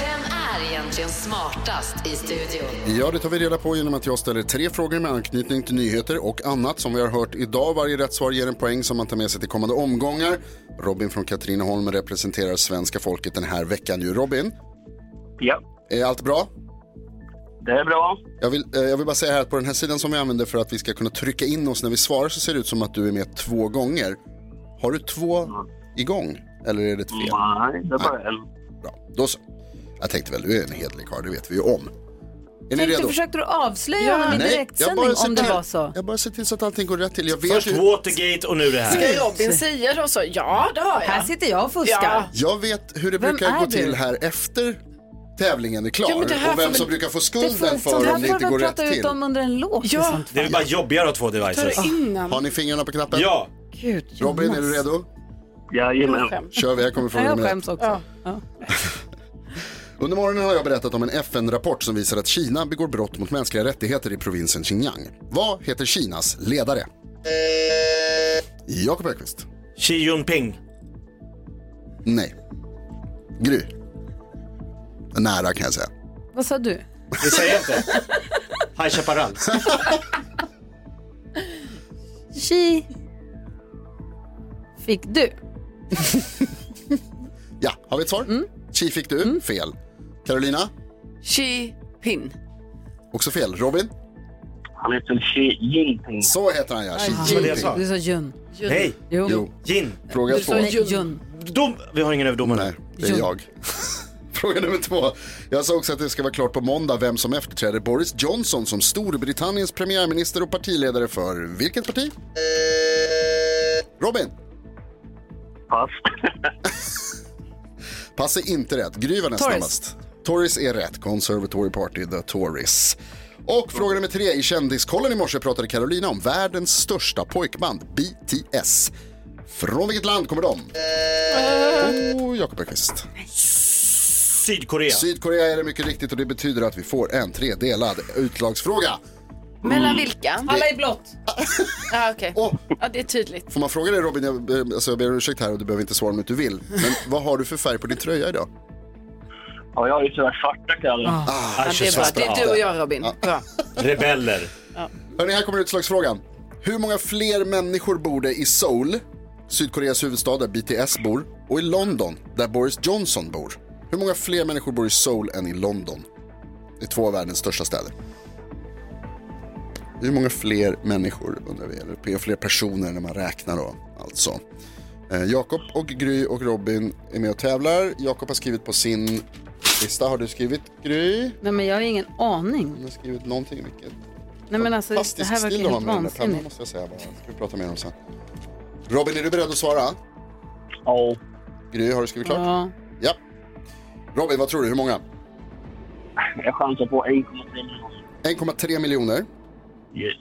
[SPEAKER 12] Vem är egentligen smartast i studion?
[SPEAKER 5] Ja, det tar vi reda på genom att jag ställer tre frågor med anknytning till nyheter och annat som vi har hört idag. Varje rätt svar ger en poäng som man tar med sig till kommande omgångar. Robin från Katrineholm representerar svenska folket den här veckan. ju. Robin,
[SPEAKER 11] Ja,
[SPEAKER 5] är allt bra?
[SPEAKER 11] det är bra.
[SPEAKER 5] Jag vill, eh, jag vill bara säga här att på den här sidan som vi använder för att vi ska kunna trycka in oss när vi svarar så ser det ut som att du är med två gånger. Har du två igång? Eller är det ett fel?
[SPEAKER 11] Nej, det är bara en.
[SPEAKER 5] Bra, då så. Jag tänkte väl, du är en hederlig karl, det vet vi ju om. Är ni
[SPEAKER 2] Tänkte,
[SPEAKER 5] redo?
[SPEAKER 2] försökte du avslöja honom i
[SPEAKER 5] jag
[SPEAKER 2] direktsändning
[SPEAKER 5] bara, ser
[SPEAKER 2] om det
[SPEAKER 5] till,
[SPEAKER 2] var så?
[SPEAKER 5] jag bara ser till så att allting går rätt till. Jag vet,
[SPEAKER 3] Först
[SPEAKER 5] ju,
[SPEAKER 3] Watergate och nu det här.
[SPEAKER 4] Ska Robin säga då så? Ja, det har
[SPEAKER 2] Här
[SPEAKER 4] jag.
[SPEAKER 2] sitter jag och fuskar.
[SPEAKER 4] Ja.
[SPEAKER 5] jag vet hur det
[SPEAKER 2] Vem
[SPEAKER 5] brukar
[SPEAKER 2] är
[SPEAKER 5] gå
[SPEAKER 2] du?
[SPEAKER 5] till här efter tävlingen är klar
[SPEAKER 4] Ja, men det här
[SPEAKER 5] och vem
[SPEAKER 4] får
[SPEAKER 5] som
[SPEAKER 4] väl-
[SPEAKER 5] brukar få
[SPEAKER 2] Det,
[SPEAKER 5] skulden
[SPEAKER 2] får, sånt
[SPEAKER 5] för
[SPEAKER 2] här
[SPEAKER 5] om det
[SPEAKER 2] får
[SPEAKER 5] inte
[SPEAKER 2] vi
[SPEAKER 5] går
[SPEAKER 2] väl
[SPEAKER 5] rätt
[SPEAKER 2] prata ut
[SPEAKER 5] till.
[SPEAKER 2] om under en låt. i
[SPEAKER 4] Ja,
[SPEAKER 2] sånt
[SPEAKER 3] Det är bara jobbigare att ha två devices.
[SPEAKER 4] tar det innan.
[SPEAKER 5] Har ni fingrarna på knappen?
[SPEAKER 3] Ja,
[SPEAKER 2] Gud,
[SPEAKER 5] Robin, är
[SPEAKER 2] Jonas.
[SPEAKER 5] du redo?
[SPEAKER 11] Jajamän.
[SPEAKER 5] Kör vi, här kommer fråga
[SPEAKER 2] Jag
[SPEAKER 5] nummer ett.
[SPEAKER 2] skäms också.
[SPEAKER 5] Under morgonen har jag berättat om en FN-rapport som visar att Kina begår brott mot mänskliga rättigheter i provinsen Xinjiang. Vad heter Kinas ledare? Jakob Öqvist.
[SPEAKER 3] Xi Jinping.
[SPEAKER 5] Nej. Gry. Nära kan jag säga.
[SPEAKER 2] Vad sa du?
[SPEAKER 3] Det säger jag inte. High Chaparral.
[SPEAKER 2] Chi fick du.
[SPEAKER 5] Ja, har vi ett svar?
[SPEAKER 3] Mm.
[SPEAKER 5] Chi fick du. Fel. Carolina.
[SPEAKER 4] Xi Pin.
[SPEAKER 5] Också fel. Robin.
[SPEAKER 11] Han heter Xi Jinping.
[SPEAKER 5] Så heter han ja. Xi
[SPEAKER 3] var det jag
[SPEAKER 5] Jinping.
[SPEAKER 3] sa.
[SPEAKER 2] Du sa Jun.
[SPEAKER 3] Nej,
[SPEAKER 2] Jo.
[SPEAKER 5] Jo.
[SPEAKER 3] gin.
[SPEAKER 5] Fråga
[SPEAKER 2] Du
[SPEAKER 5] två.
[SPEAKER 2] sa Jun.
[SPEAKER 3] Dom... Vi har ingen överdomare.
[SPEAKER 5] Nej, det är jag. Fråga nummer två. Jag sa också att det ska vara klart på måndag vem som efterträder Boris Johnson som Storbritanniens premiärminister och partiledare för vilket parti? Robin,
[SPEAKER 11] Pass.
[SPEAKER 5] pass är inte rätt. Gry var näst
[SPEAKER 2] Tories.
[SPEAKER 5] snabbast. Tories är rätt. Conservatory Party, the Tories. Och fråga nummer tre. I Kändiskollen i morse pratade Carolina om världens största pojkband, BTS. Från vilket land kommer de? Oh, Jakob Öqvist.
[SPEAKER 3] Sydkorea.
[SPEAKER 5] Sydkorea är det mycket riktigt och det betyder att vi får en tredelad utlagsfråga.
[SPEAKER 4] Mellan vilka?
[SPEAKER 2] Alla i blått.
[SPEAKER 4] Ja, okej.
[SPEAKER 5] Och
[SPEAKER 4] Ja, det är tydligt.
[SPEAKER 5] får man fråga dig Robin, jag, eh, alltså, jag ber om ursäkt här och du behöver inte svara om du inte vill. Men vad har du för färg på din tröja idag?
[SPEAKER 11] Ja, jag har ju tyvärr svarta kläder.
[SPEAKER 4] Ja, det är bra. Det är du och jag Robin. Bra.
[SPEAKER 3] Rebeller.
[SPEAKER 5] Hörrni, här kommer utslagsfrågan. Hur många fler människor bor det i Seoul, Sydkoreas huvudstad där BTS bor, och i London där Boris Johnson bor? Hur många fler människor bor i Seoul än i London? Det är två av världens största städer. Hur många fler människor undrar vi, eller hur fler personer när man räknar då, alltså. Eh, Jakob och Gry och Robin är med och tävlar. Jakob har skrivit på sin lista. Har du skrivit Gry?
[SPEAKER 2] Nej men jag har ingen aning.
[SPEAKER 5] Hon har skrivit någonting, vilket
[SPEAKER 2] Nej men alltså det
[SPEAKER 5] Fantastisk
[SPEAKER 2] här verkar
[SPEAKER 5] stil de har
[SPEAKER 2] helt
[SPEAKER 5] med den där pennan
[SPEAKER 2] vansinnigt.
[SPEAKER 5] måste jag säga bara. Ska vi prata mer om sen. Robin, är du beredd att svara?
[SPEAKER 11] Ja,
[SPEAKER 5] Gry, har du skrivit klart?
[SPEAKER 2] Ja.
[SPEAKER 5] Ja. Robin, vad tror du? Hur många?
[SPEAKER 11] jag chansar på 1,3 miljoner.
[SPEAKER 5] 1,3 miljoner.
[SPEAKER 11] Yes.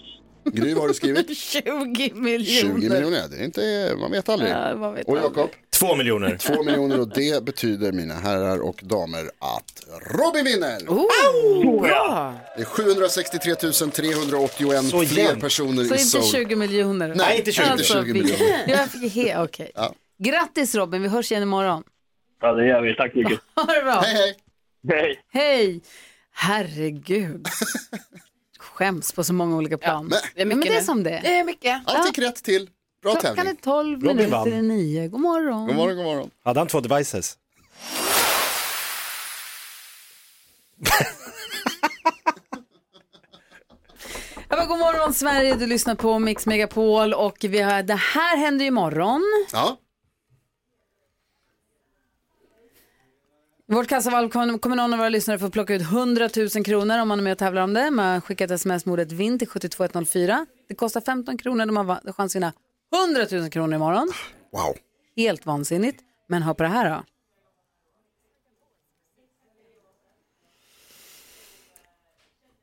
[SPEAKER 5] Gry, vad har du skrivit?
[SPEAKER 2] 20
[SPEAKER 5] 20
[SPEAKER 2] miljoner.
[SPEAKER 5] miljoner. Det är inte, man vet aldrig.
[SPEAKER 2] Ja, man vet
[SPEAKER 5] och Jakob?
[SPEAKER 3] Två miljoner.
[SPEAKER 5] 2 miljoner och det betyder, mina herrar och damer, att Robin vinner!
[SPEAKER 2] Oh, bra.
[SPEAKER 5] Det är 763 381
[SPEAKER 3] Så
[SPEAKER 5] fler
[SPEAKER 3] jämnt.
[SPEAKER 5] personer
[SPEAKER 2] Så
[SPEAKER 5] i
[SPEAKER 2] inte
[SPEAKER 5] Seoul.
[SPEAKER 2] 20 miljoner.
[SPEAKER 5] Nej, inte 20, inte
[SPEAKER 2] Alltså,
[SPEAKER 5] 20
[SPEAKER 2] vi-
[SPEAKER 5] miljoner.
[SPEAKER 2] Jag fick he, okej.
[SPEAKER 5] Ja.
[SPEAKER 2] Grattis Robin, vi hörs igen imorgon.
[SPEAKER 11] Ja, det gör vi. Tack mycket.
[SPEAKER 2] Ha det bra.
[SPEAKER 5] Hej, hej!
[SPEAKER 11] Hej.
[SPEAKER 2] Hej! Herregud. Skäms på så många olika plan.
[SPEAKER 5] Men-
[SPEAKER 2] Ja, men det är som det är.
[SPEAKER 4] Det är mycket.
[SPEAKER 5] Allt gick rätt till. Bra
[SPEAKER 2] Klockan är
[SPEAKER 5] tävling.
[SPEAKER 2] 12
[SPEAKER 3] Robin
[SPEAKER 2] minuter
[SPEAKER 3] vann.
[SPEAKER 2] i nio. God morgon.
[SPEAKER 5] God morgon, god morgon.
[SPEAKER 3] Hade han två devices?
[SPEAKER 2] Ja, men god morgon Sverige, du lyssnar på Mix Megapol och vi har, det här händer ju imorgon.
[SPEAKER 5] Ja,
[SPEAKER 2] Vårt kassavalv kom- kommer någon av våra lyssnare få plocka ut 100 000 kronor om man är med och tävlar om det. Man skickar ett sms med ordet vinn till 72104. Det kostar 15 kronor, de har va- chans att vinna 100 000 kronor imorgon.
[SPEAKER 5] wow.
[SPEAKER 2] Helt vansinnigt. Men hör på det här då.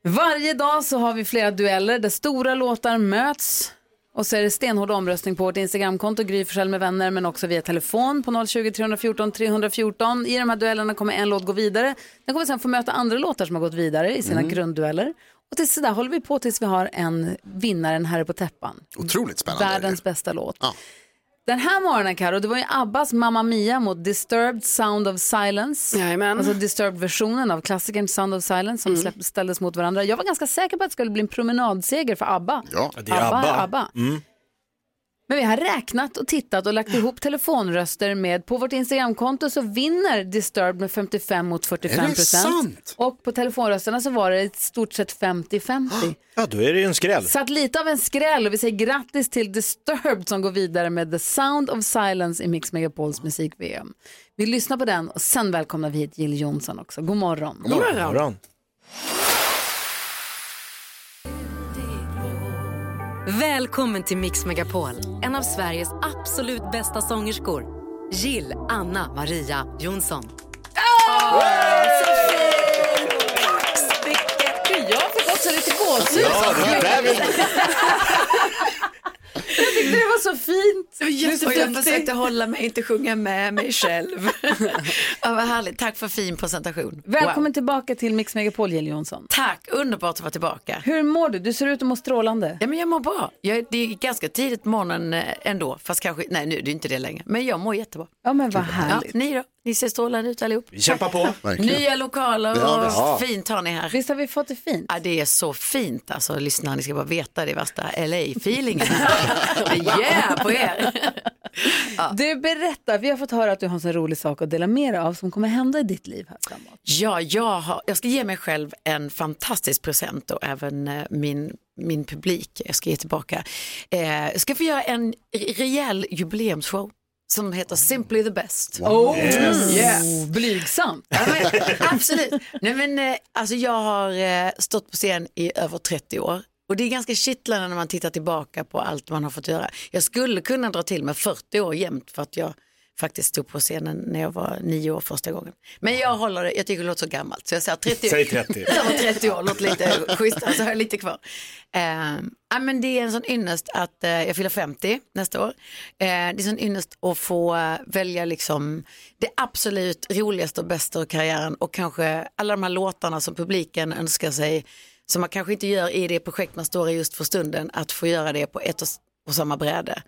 [SPEAKER 2] Varje dag så har vi flera dueller där stora låtar möts. Och så är det stenhård omröstning på vårt Instagramkonto, Gry Forssell med vänner, men också via telefon på 020 314 314. I de här duellerna kommer en låt gå vidare. Den kommer sen få möta andra låtar som har gått vidare i sina grunddueller. Och tills så där håller vi på tills vi har en vinnare, en herre på täppan.
[SPEAKER 5] Otroligt spännande.
[SPEAKER 2] Världens bästa låt.
[SPEAKER 5] Ja.
[SPEAKER 2] Den här morgonen Karo, det var ju Abbas Mamma Mia mot Disturbed Sound of Silence.
[SPEAKER 13] Jajamän.
[SPEAKER 2] Alltså Disturbed-versionen av klassikern Sound of Silence som släpp, ställdes mot varandra. Jag var ganska säker på att det skulle bli en promenadseger för ABBA.
[SPEAKER 5] Ja.
[SPEAKER 3] det är
[SPEAKER 2] ABBA.
[SPEAKER 3] ABBA.
[SPEAKER 2] är ABBA.
[SPEAKER 5] Mm.
[SPEAKER 2] Men vi har räknat och tittat och lagt ihop telefonröster med, på vårt Instagramkonto så vinner Disturbed med 55 mot 45
[SPEAKER 5] Är det sant?
[SPEAKER 2] procent. Och på telefonrösterna så var det i stort sett 50-50.
[SPEAKER 3] Ja, då är det ju en skräll.
[SPEAKER 2] Så att lite av en skräll och vi säger grattis till Disturbed som går vidare med The Sound of Silence i Mix Megapols musik-VM. Vi lyssnar på den och sen välkomnar vi hit Jill Johnson också. God morgon.
[SPEAKER 3] Morgon.
[SPEAKER 9] Välkommen till Mix Megapol. En av Sveriges absolut bästa sångerskor. Jill Anna Maria Jonsson.
[SPEAKER 2] Jag fick också lite gåshud.
[SPEAKER 3] Ja, det där vill
[SPEAKER 2] Det var så fint.
[SPEAKER 4] Och jag försökte hålla mig, inte sjunga med mig själv. ja, vad härligt, tack för fin presentation.
[SPEAKER 2] Välkommen
[SPEAKER 4] Wow.
[SPEAKER 2] tillbaka till Mix Megapol Jill Johnson.
[SPEAKER 4] Tack, underbart att vara tillbaka.
[SPEAKER 2] Hur mår du? Du ser ut att må strålande.
[SPEAKER 4] Ja, men jag mår bra. Jag, det är ganska tidigt på morgonen eh, ändå, fast kanske, nej nu är det inte det längre, men jag mår jättebra.
[SPEAKER 2] Ja men vad
[SPEAKER 4] Ja,
[SPEAKER 2] härligt.
[SPEAKER 4] ni då? Ni ser strålande ut allihop.
[SPEAKER 3] vi kämpa på.
[SPEAKER 5] Verkligen.
[SPEAKER 4] Nya lokaler
[SPEAKER 5] Ja,
[SPEAKER 4] och
[SPEAKER 5] visst.
[SPEAKER 4] fint har ni här.
[SPEAKER 2] Visst har vi fått det fint?
[SPEAKER 4] Ja, det är så fint alltså, lyssna, ni ska bara veta det är värsta LA-feelingen. yeah på er.
[SPEAKER 2] Du berättar, vi har fått höra att du har en så rolig sak att dela med dig av som kommer hända i ditt liv här framåt.
[SPEAKER 4] Ja, jag, har, jag ska ge mig själv en fantastisk present och även eh, min, min publik. Jag ska ge tillbaka. Eh, jag ska få göra en rejäl jubileumsshow som heter Simply the Best.
[SPEAKER 2] Oh, blygsamt.
[SPEAKER 4] Ja, men, absolut. Nej, men, eh, alltså, jag har eh, stått på scen i över 30 år. Och det är ganska kittlande när man tittar tillbaka på allt man har fått göra. Jag skulle kunna dra till med 40 år jämt för att jag faktiskt stod på scenen när jag var nio år första gången. Men jag håller det, jag tycker det låter så gammalt så jag säger 30 år.
[SPEAKER 3] Säg 30.
[SPEAKER 4] Jag var 30 år, låter lite schysst, så har jag lite kvar. Eh, ja, men det är en sån ynnest att eh, jag fyller 50 nästa år. Eh, det är en sån ynnest att få eh, välja liksom det absolut roligaste och bästa ur karriären och kanske alla de här låtarna som publiken önskar sig som man kanske inte gör i det projekt man står i just för stunden, att få göra det på ett och, s- och samma bräde.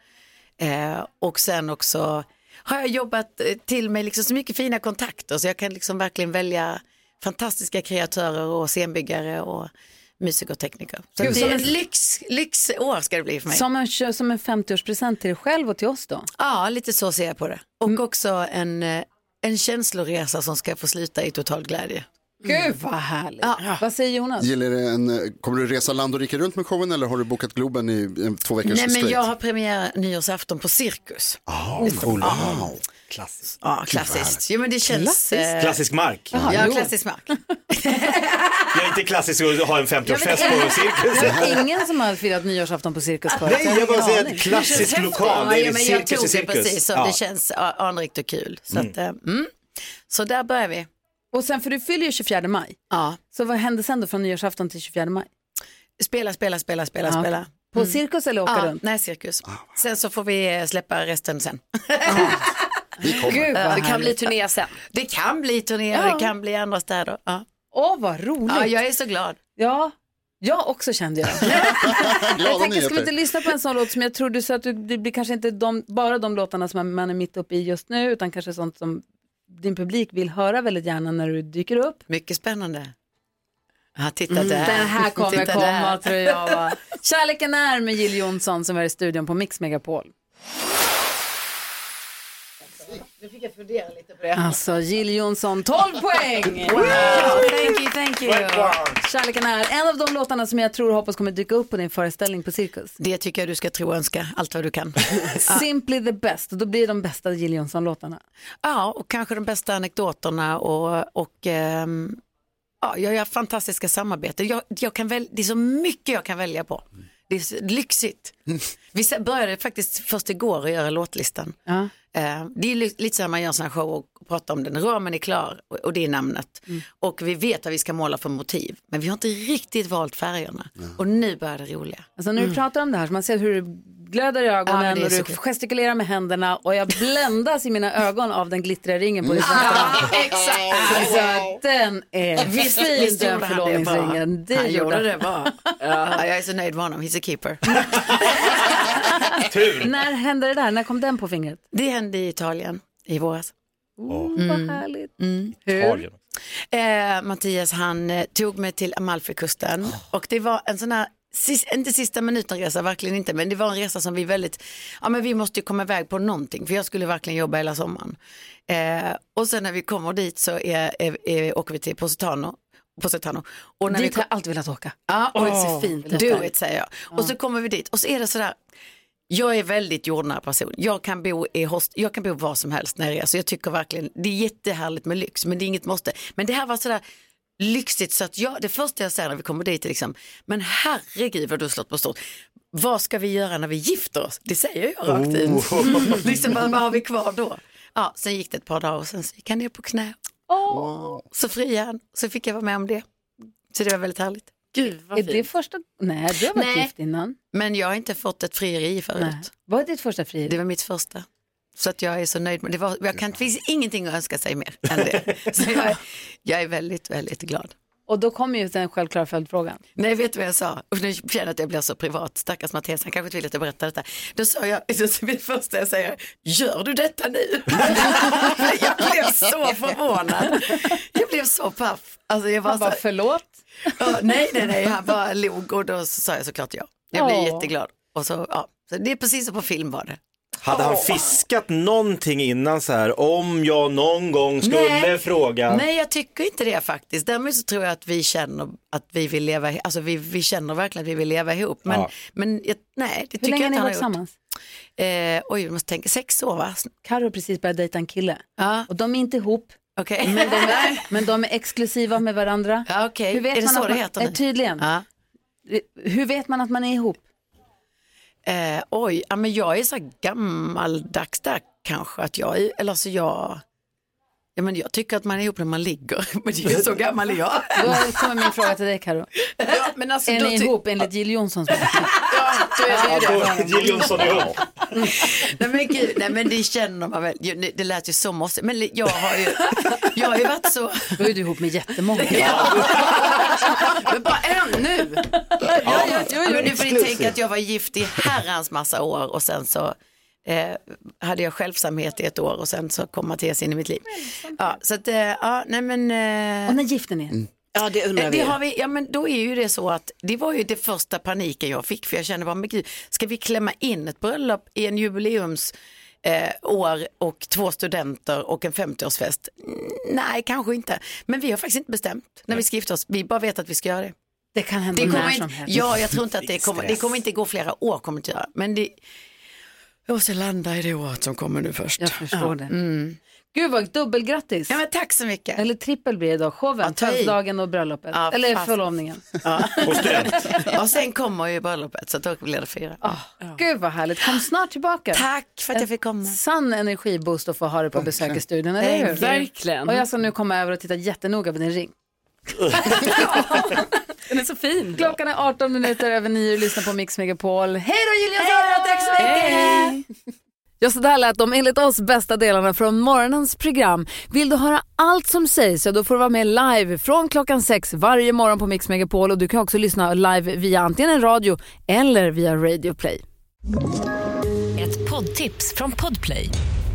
[SPEAKER 4] Eh, och sen också har jag jobbat eh, till mig liksom så mycket fina kontakter så jag kan liksom verkligen välja fantastiska kreatörer och scenbyggare och musiker och tekniker. Så
[SPEAKER 2] Gud,
[SPEAKER 4] det
[SPEAKER 2] som
[SPEAKER 4] är
[SPEAKER 2] en-
[SPEAKER 4] ett lyx, lyxår ska det bli för mig.
[SPEAKER 2] Som en, som en 50-årspresent till dig själv och till oss då.
[SPEAKER 4] Ja, lite så ser jag på det. Och
[SPEAKER 2] Mm.
[SPEAKER 4] också en, eh, en känsloresa som ska få sluta i total glädje.
[SPEAKER 2] Gud vad härligt.
[SPEAKER 4] Ja.
[SPEAKER 2] Mm. Vad säger Jonas?
[SPEAKER 5] Gillar det en, eh, kommer du resa land och rike runt med showen eller har du bokat Globen i eh, två veckor
[SPEAKER 4] Nej men
[SPEAKER 5] straight?
[SPEAKER 4] jag har premiär nyårsafton på Cirkus.
[SPEAKER 3] Oh,
[SPEAKER 5] Wow.
[SPEAKER 3] Klassisk.
[SPEAKER 4] Ja, klassiskt. Jo men det känns... eh,
[SPEAKER 3] Eh. Klassisk mark.
[SPEAKER 4] Ja,
[SPEAKER 2] jo.
[SPEAKER 4] klassisk mark.
[SPEAKER 3] Jag är inte klassisk att ha en 50-årsfest på cirkus.
[SPEAKER 2] Ingen som har firat nyårsafton på Cirkus förut.
[SPEAKER 3] Nej, jag bara
[SPEAKER 2] ingen
[SPEAKER 3] säger
[SPEAKER 2] aning.
[SPEAKER 3] att klassisk lokal,
[SPEAKER 4] Ja,
[SPEAKER 3] det
[SPEAKER 4] ja,
[SPEAKER 3] är
[SPEAKER 4] men jag
[SPEAKER 3] cirkus
[SPEAKER 4] tog
[SPEAKER 3] i
[SPEAKER 4] det precis,
[SPEAKER 3] cirkus.
[SPEAKER 4] så
[SPEAKER 3] Ja.
[SPEAKER 4] det känns a- anrikt och kul. Så, att, eh, mm. så där börjar vi.
[SPEAKER 2] Och sen, för du fyller ju 24 maj.
[SPEAKER 4] Ja.
[SPEAKER 2] Så vad hände sen då från nyårsafton till 24 maj?
[SPEAKER 4] Spela, spela, spela, spela,
[SPEAKER 2] Ja.
[SPEAKER 4] spela.
[SPEAKER 2] På Cirkus eller åka
[SPEAKER 4] Ja,
[SPEAKER 2] runt?
[SPEAKER 4] nej, cirkus. Sen så får vi eh, släppa resten sen. Eh,
[SPEAKER 2] Gud vad
[SPEAKER 13] Det kan
[SPEAKER 2] härligt.
[SPEAKER 13] bli turné sen.
[SPEAKER 4] Det kan bli turnéer, det kan bli andra städer. Ja.
[SPEAKER 2] Åh vad roligt.
[SPEAKER 4] Ja,
[SPEAKER 2] Ja, jag...
[SPEAKER 4] jag är så glad.
[SPEAKER 2] ja, jag också kände jag. jag
[SPEAKER 5] Glada
[SPEAKER 2] tänkte, skulle vi inte
[SPEAKER 5] nyheter.
[SPEAKER 2] lyssna på en sån låt som jag tror du sa att du, det blir kanske inte de, bara de låtarna som man är mitt uppe i just nu utan kanske sånt som din publik vill höra väldigt gärna när du dyker upp.
[SPEAKER 4] Mycket spännande. Ja, titta där.
[SPEAKER 2] Den Mm, här kommer
[SPEAKER 4] Titta
[SPEAKER 2] komma
[SPEAKER 4] där.
[SPEAKER 2] tror jag. Va? Kärleken är med Jill Johnson som är i studion på Mix Megapol.
[SPEAKER 4] Nu fick jag fundera lite på det.
[SPEAKER 2] Alltså Jill Johnson, 12 poäng! Wow. Thank you, thank you. Kärleken är en av de låtarna som jag tror och hoppas kommer dyka upp på din föreställning på Cirkus.
[SPEAKER 4] Det tycker jag du ska tro och önska, allt vad du kan.
[SPEAKER 2] Simply the best, då blir det de bästa Jill Johnson-låtarna.
[SPEAKER 4] Ja, och kanske de bästa anekdoterna och, och ehm, ja, jag gör fantastiska samarbeten. Jag, jag kan väl, det är så mycket jag kan välja på. Det är så lyxigt.
[SPEAKER 2] Mm.
[SPEAKER 4] Vi se- började faktiskt först igår att göra låtlistan. Eh, det är li- lite så här man gör en sån här show och pratar om den. Ramen är klar och, och det är namnet. Och vi vet vad vi ska måla för motiv. Men vi har inte riktigt valt färgerna. Och nu börjar det roliga.
[SPEAKER 2] Alltså när du pratar om det här så man ser hur du glöder i
[SPEAKER 4] Mm. Ja, men
[SPEAKER 2] ögonen
[SPEAKER 4] det är
[SPEAKER 2] och
[SPEAKER 4] så
[SPEAKER 2] du
[SPEAKER 4] kul.
[SPEAKER 2] gestikulerar med händerna och jag bländas i mina ögon av den glittriga ringen på
[SPEAKER 4] Mm.
[SPEAKER 2] ditt
[SPEAKER 4] Ah! exakt.
[SPEAKER 2] Alltså den är
[SPEAKER 4] Visst,
[SPEAKER 2] fin
[SPEAKER 4] visst
[SPEAKER 2] den
[SPEAKER 4] gjorde han det bra.
[SPEAKER 2] förlovningsringen.
[SPEAKER 4] Han gjorde det bra. Ja, jag är så nöjd med honom, he's a keeper.
[SPEAKER 2] När hände det där? När kom den på fingret?
[SPEAKER 4] Det hände i Italien i våras.
[SPEAKER 2] Oh,
[SPEAKER 4] Mm.
[SPEAKER 2] Vad härligt.
[SPEAKER 4] Mm.
[SPEAKER 2] Hur?
[SPEAKER 4] Eh, Mattias han eh, tog mig till Amalfikusten och det var en sån här Sis, inte sista minuten resa, verkligen inte, men det var en resa som vi väldigt, ja men vi måste ju komma iväg på någonting, för jag skulle verkligen jobba hela sommaren. Eh, och sen när vi kommer dit så är, är, är, åker vi till Positano. Positano. Och när vi
[SPEAKER 2] Dit har
[SPEAKER 4] kom,
[SPEAKER 2] jag alltid velat åka.
[SPEAKER 4] Ja, och
[SPEAKER 2] Åh,
[SPEAKER 4] det är så fint.
[SPEAKER 2] det
[SPEAKER 4] Do
[SPEAKER 2] där.
[SPEAKER 4] it säger jag. Och så kommer vi dit och så är det sådär, jag är väldigt jordnära person. Jag kan bo i host, jag kan bo var som helst när jag reser. Jag tycker verkligen, det är jättehärligt med lyx, men det är inget måste. Men det här var sådär lyxigt så att jag, det första jag säger när vi kommer dit är liksom, men herregud vad du har slått på stort. Vad ska vi göra när vi gifter oss? Det säger jag rakt ut. liksom, vad, vad har vi kvar då? Ja, sen gick det ett par dagar och sen så gick han ner på knä. Så friade han, så fick jag vara med om det. Så det var väldigt härligt.
[SPEAKER 14] Gud vad
[SPEAKER 2] Är
[SPEAKER 14] fint.
[SPEAKER 2] det första... Nej, du har varit
[SPEAKER 4] Nej.
[SPEAKER 2] gift innan.
[SPEAKER 4] Men jag har inte fått ett frieri förut.
[SPEAKER 2] Nej. Vad är ditt första frieri?
[SPEAKER 4] Det var mitt första. Så att jag är så nöjd med det. Var, jag kan, det finns ingenting att önska sig mer än det. Så jag, är- jag är väldigt, väldigt glad.
[SPEAKER 2] Och då kommer ju den självklara följdfrågan.
[SPEAKER 4] Nej, vet du vad jag sa? Och nu känner jag att jag blir så privat. Stackars Mattias, han kanske inte vill att jag berättar detta. Då sa jag, det första jag säger, gör du detta nu? jag blev så förvånad. Jag blev så paff. Alltså jag var
[SPEAKER 2] Han bara,
[SPEAKER 4] så,
[SPEAKER 2] förlåt?
[SPEAKER 4] Ja, nej, nej, nej, han bara log och då så sa jag såklart ja. Jag blev
[SPEAKER 2] Åh.
[SPEAKER 4] jätteglad. Och så, ja. så det är precis som på film var det.
[SPEAKER 3] Hade han fiskat någonting innan så här, om jag någon gång skulle
[SPEAKER 4] Nej.
[SPEAKER 3] fråga?
[SPEAKER 4] Nej, jag tycker inte det faktiskt. Däremot så tror jag att vi känner att vi vill leva, alltså vi, vi känner verkligen att vi vill leva ihop. Men,
[SPEAKER 3] Ja.
[SPEAKER 4] men jag, nej, det
[SPEAKER 2] Hur
[SPEAKER 4] tycker
[SPEAKER 2] länge har
[SPEAKER 4] jag
[SPEAKER 2] ni
[SPEAKER 4] inte han
[SPEAKER 2] varit
[SPEAKER 4] har gjort.
[SPEAKER 2] tillsammans?
[SPEAKER 4] Eh, oj, jag måste tänka, sex år va?
[SPEAKER 2] Carro har precis börjat dejta en kille.
[SPEAKER 4] Ja,
[SPEAKER 2] Och de är inte ihop,
[SPEAKER 4] okej.
[SPEAKER 2] men de är, men de är exklusiva med varandra.
[SPEAKER 4] Ja, okej.
[SPEAKER 2] Hur vet
[SPEAKER 4] Är det
[SPEAKER 2] man
[SPEAKER 4] så
[SPEAKER 2] att
[SPEAKER 4] det
[SPEAKER 2] man,
[SPEAKER 4] heter
[SPEAKER 2] Eh,
[SPEAKER 4] nu?
[SPEAKER 2] Tydligen.
[SPEAKER 4] Ja.
[SPEAKER 2] Hur vet man att man är ihop?
[SPEAKER 4] Eh, oj, ja, men jag är så här gammaldags där kanske att jag, är- eller så jag, ja, men jag tycker att man är ihop när man ligger, men det är ju så gammal är jag.
[SPEAKER 2] Då kommer min fråga till dig Carro.
[SPEAKER 4] Ja, men alltså,
[SPEAKER 2] Är
[SPEAKER 4] då
[SPEAKER 2] ni
[SPEAKER 4] ty-
[SPEAKER 2] ihop enligt Jill Johnsons bok?
[SPEAKER 3] Ja, då- Jill Johnson är ihop.
[SPEAKER 4] Nej men gud, nej men det känner man väl. Ju, Det lät ju så måste, men li- jag har ju, jag har ju varit så.
[SPEAKER 2] Då är du ihop med jättemånga.
[SPEAKER 14] Men bara en nu.
[SPEAKER 4] Ja, men du får ni tänka att jag var gift i herrans massa år och sen så eh, hade jag självsamhet i ett år och sen så kom Mattias in i mitt liv. Ja, så att, eh, ja, nej men. Eh,
[SPEAKER 2] Och när gifter ni er?
[SPEAKER 3] Mm.
[SPEAKER 15] Ja, det undrar vi.
[SPEAKER 4] Det har vi, ja, men då är ju det så att det var ju det första paniken jag fick för jag kände bara, men gud, ska vi klämma in ett bröllop i en jubileums eh, år och två studenter och en 50-årsfest? Mm, nej, kanske inte. Men vi har faktiskt inte bestämt när vi ska gifta oss. Vi bara vet att vi ska göra det.
[SPEAKER 2] Det kan hända
[SPEAKER 4] Det
[SPEAKER 2] när
[SPEAKER 4] kommer
[SPEAKER 2] som
[SPEAKER 4] inte,
[SPEAKER 2] helst.
[SPEAKER 4] ja, jag tror inte att det kommer, det kommer inte gå flera år kommer det inte göra. Men det, jag måste landa i det året som kommer nu först.
[SPEAKER 2] Jag förstår det. Gud vad dubbelgrattis.
[SPEAKER 4] Mm. Ja, men tack så mycket.
[SPEAKER 2] Eller trippel blir det idag. Showen,
[SPEAKER 4] Ja, ta i.
[SPEAKER 2] födelsedagen och bröllopet.
[SPEAKER 4] Ja,
[SPEAKER 2] Eller
[SPEAKER 4] fast.
[SPEAKER 2] förlovningen.
[SPEAKER 3] Och student.
[SPEAKER 4] Och sen kommer ju bröllopet så då blir det fyra.
[SPEAKER 2] Gud vad härligt. Kom snart tillbaka.
[SPEAKER 4] Tack för att jag fick komma.
[SPEAKER 2] Sann energiboost att få ha dig på besök i studion, eller hur?
[SPEAKER 15] Verkligen.
[SPEAKER 2] Och jag ska nu komma över och titta jättenoga på din ring.
[SPEAKER 15] Den är så fin.
[SPEAKER 2] Klockan är 18 minuter över 9 och lyssnar på Mix Megapol. Hej då Julia Sara, tack så mycket!
[SPEAKER 15] Ja, så där lät de enligt oss bästa delarna från morgonens program. Vill du höra allt som sägs så då får du vara med live från klockan sex varje morgon på Mix Megapol och du kan också lyssna live via antingen en radio eller via Radio Play.
[SPEAKER 9] Ett poddtips från Podplay.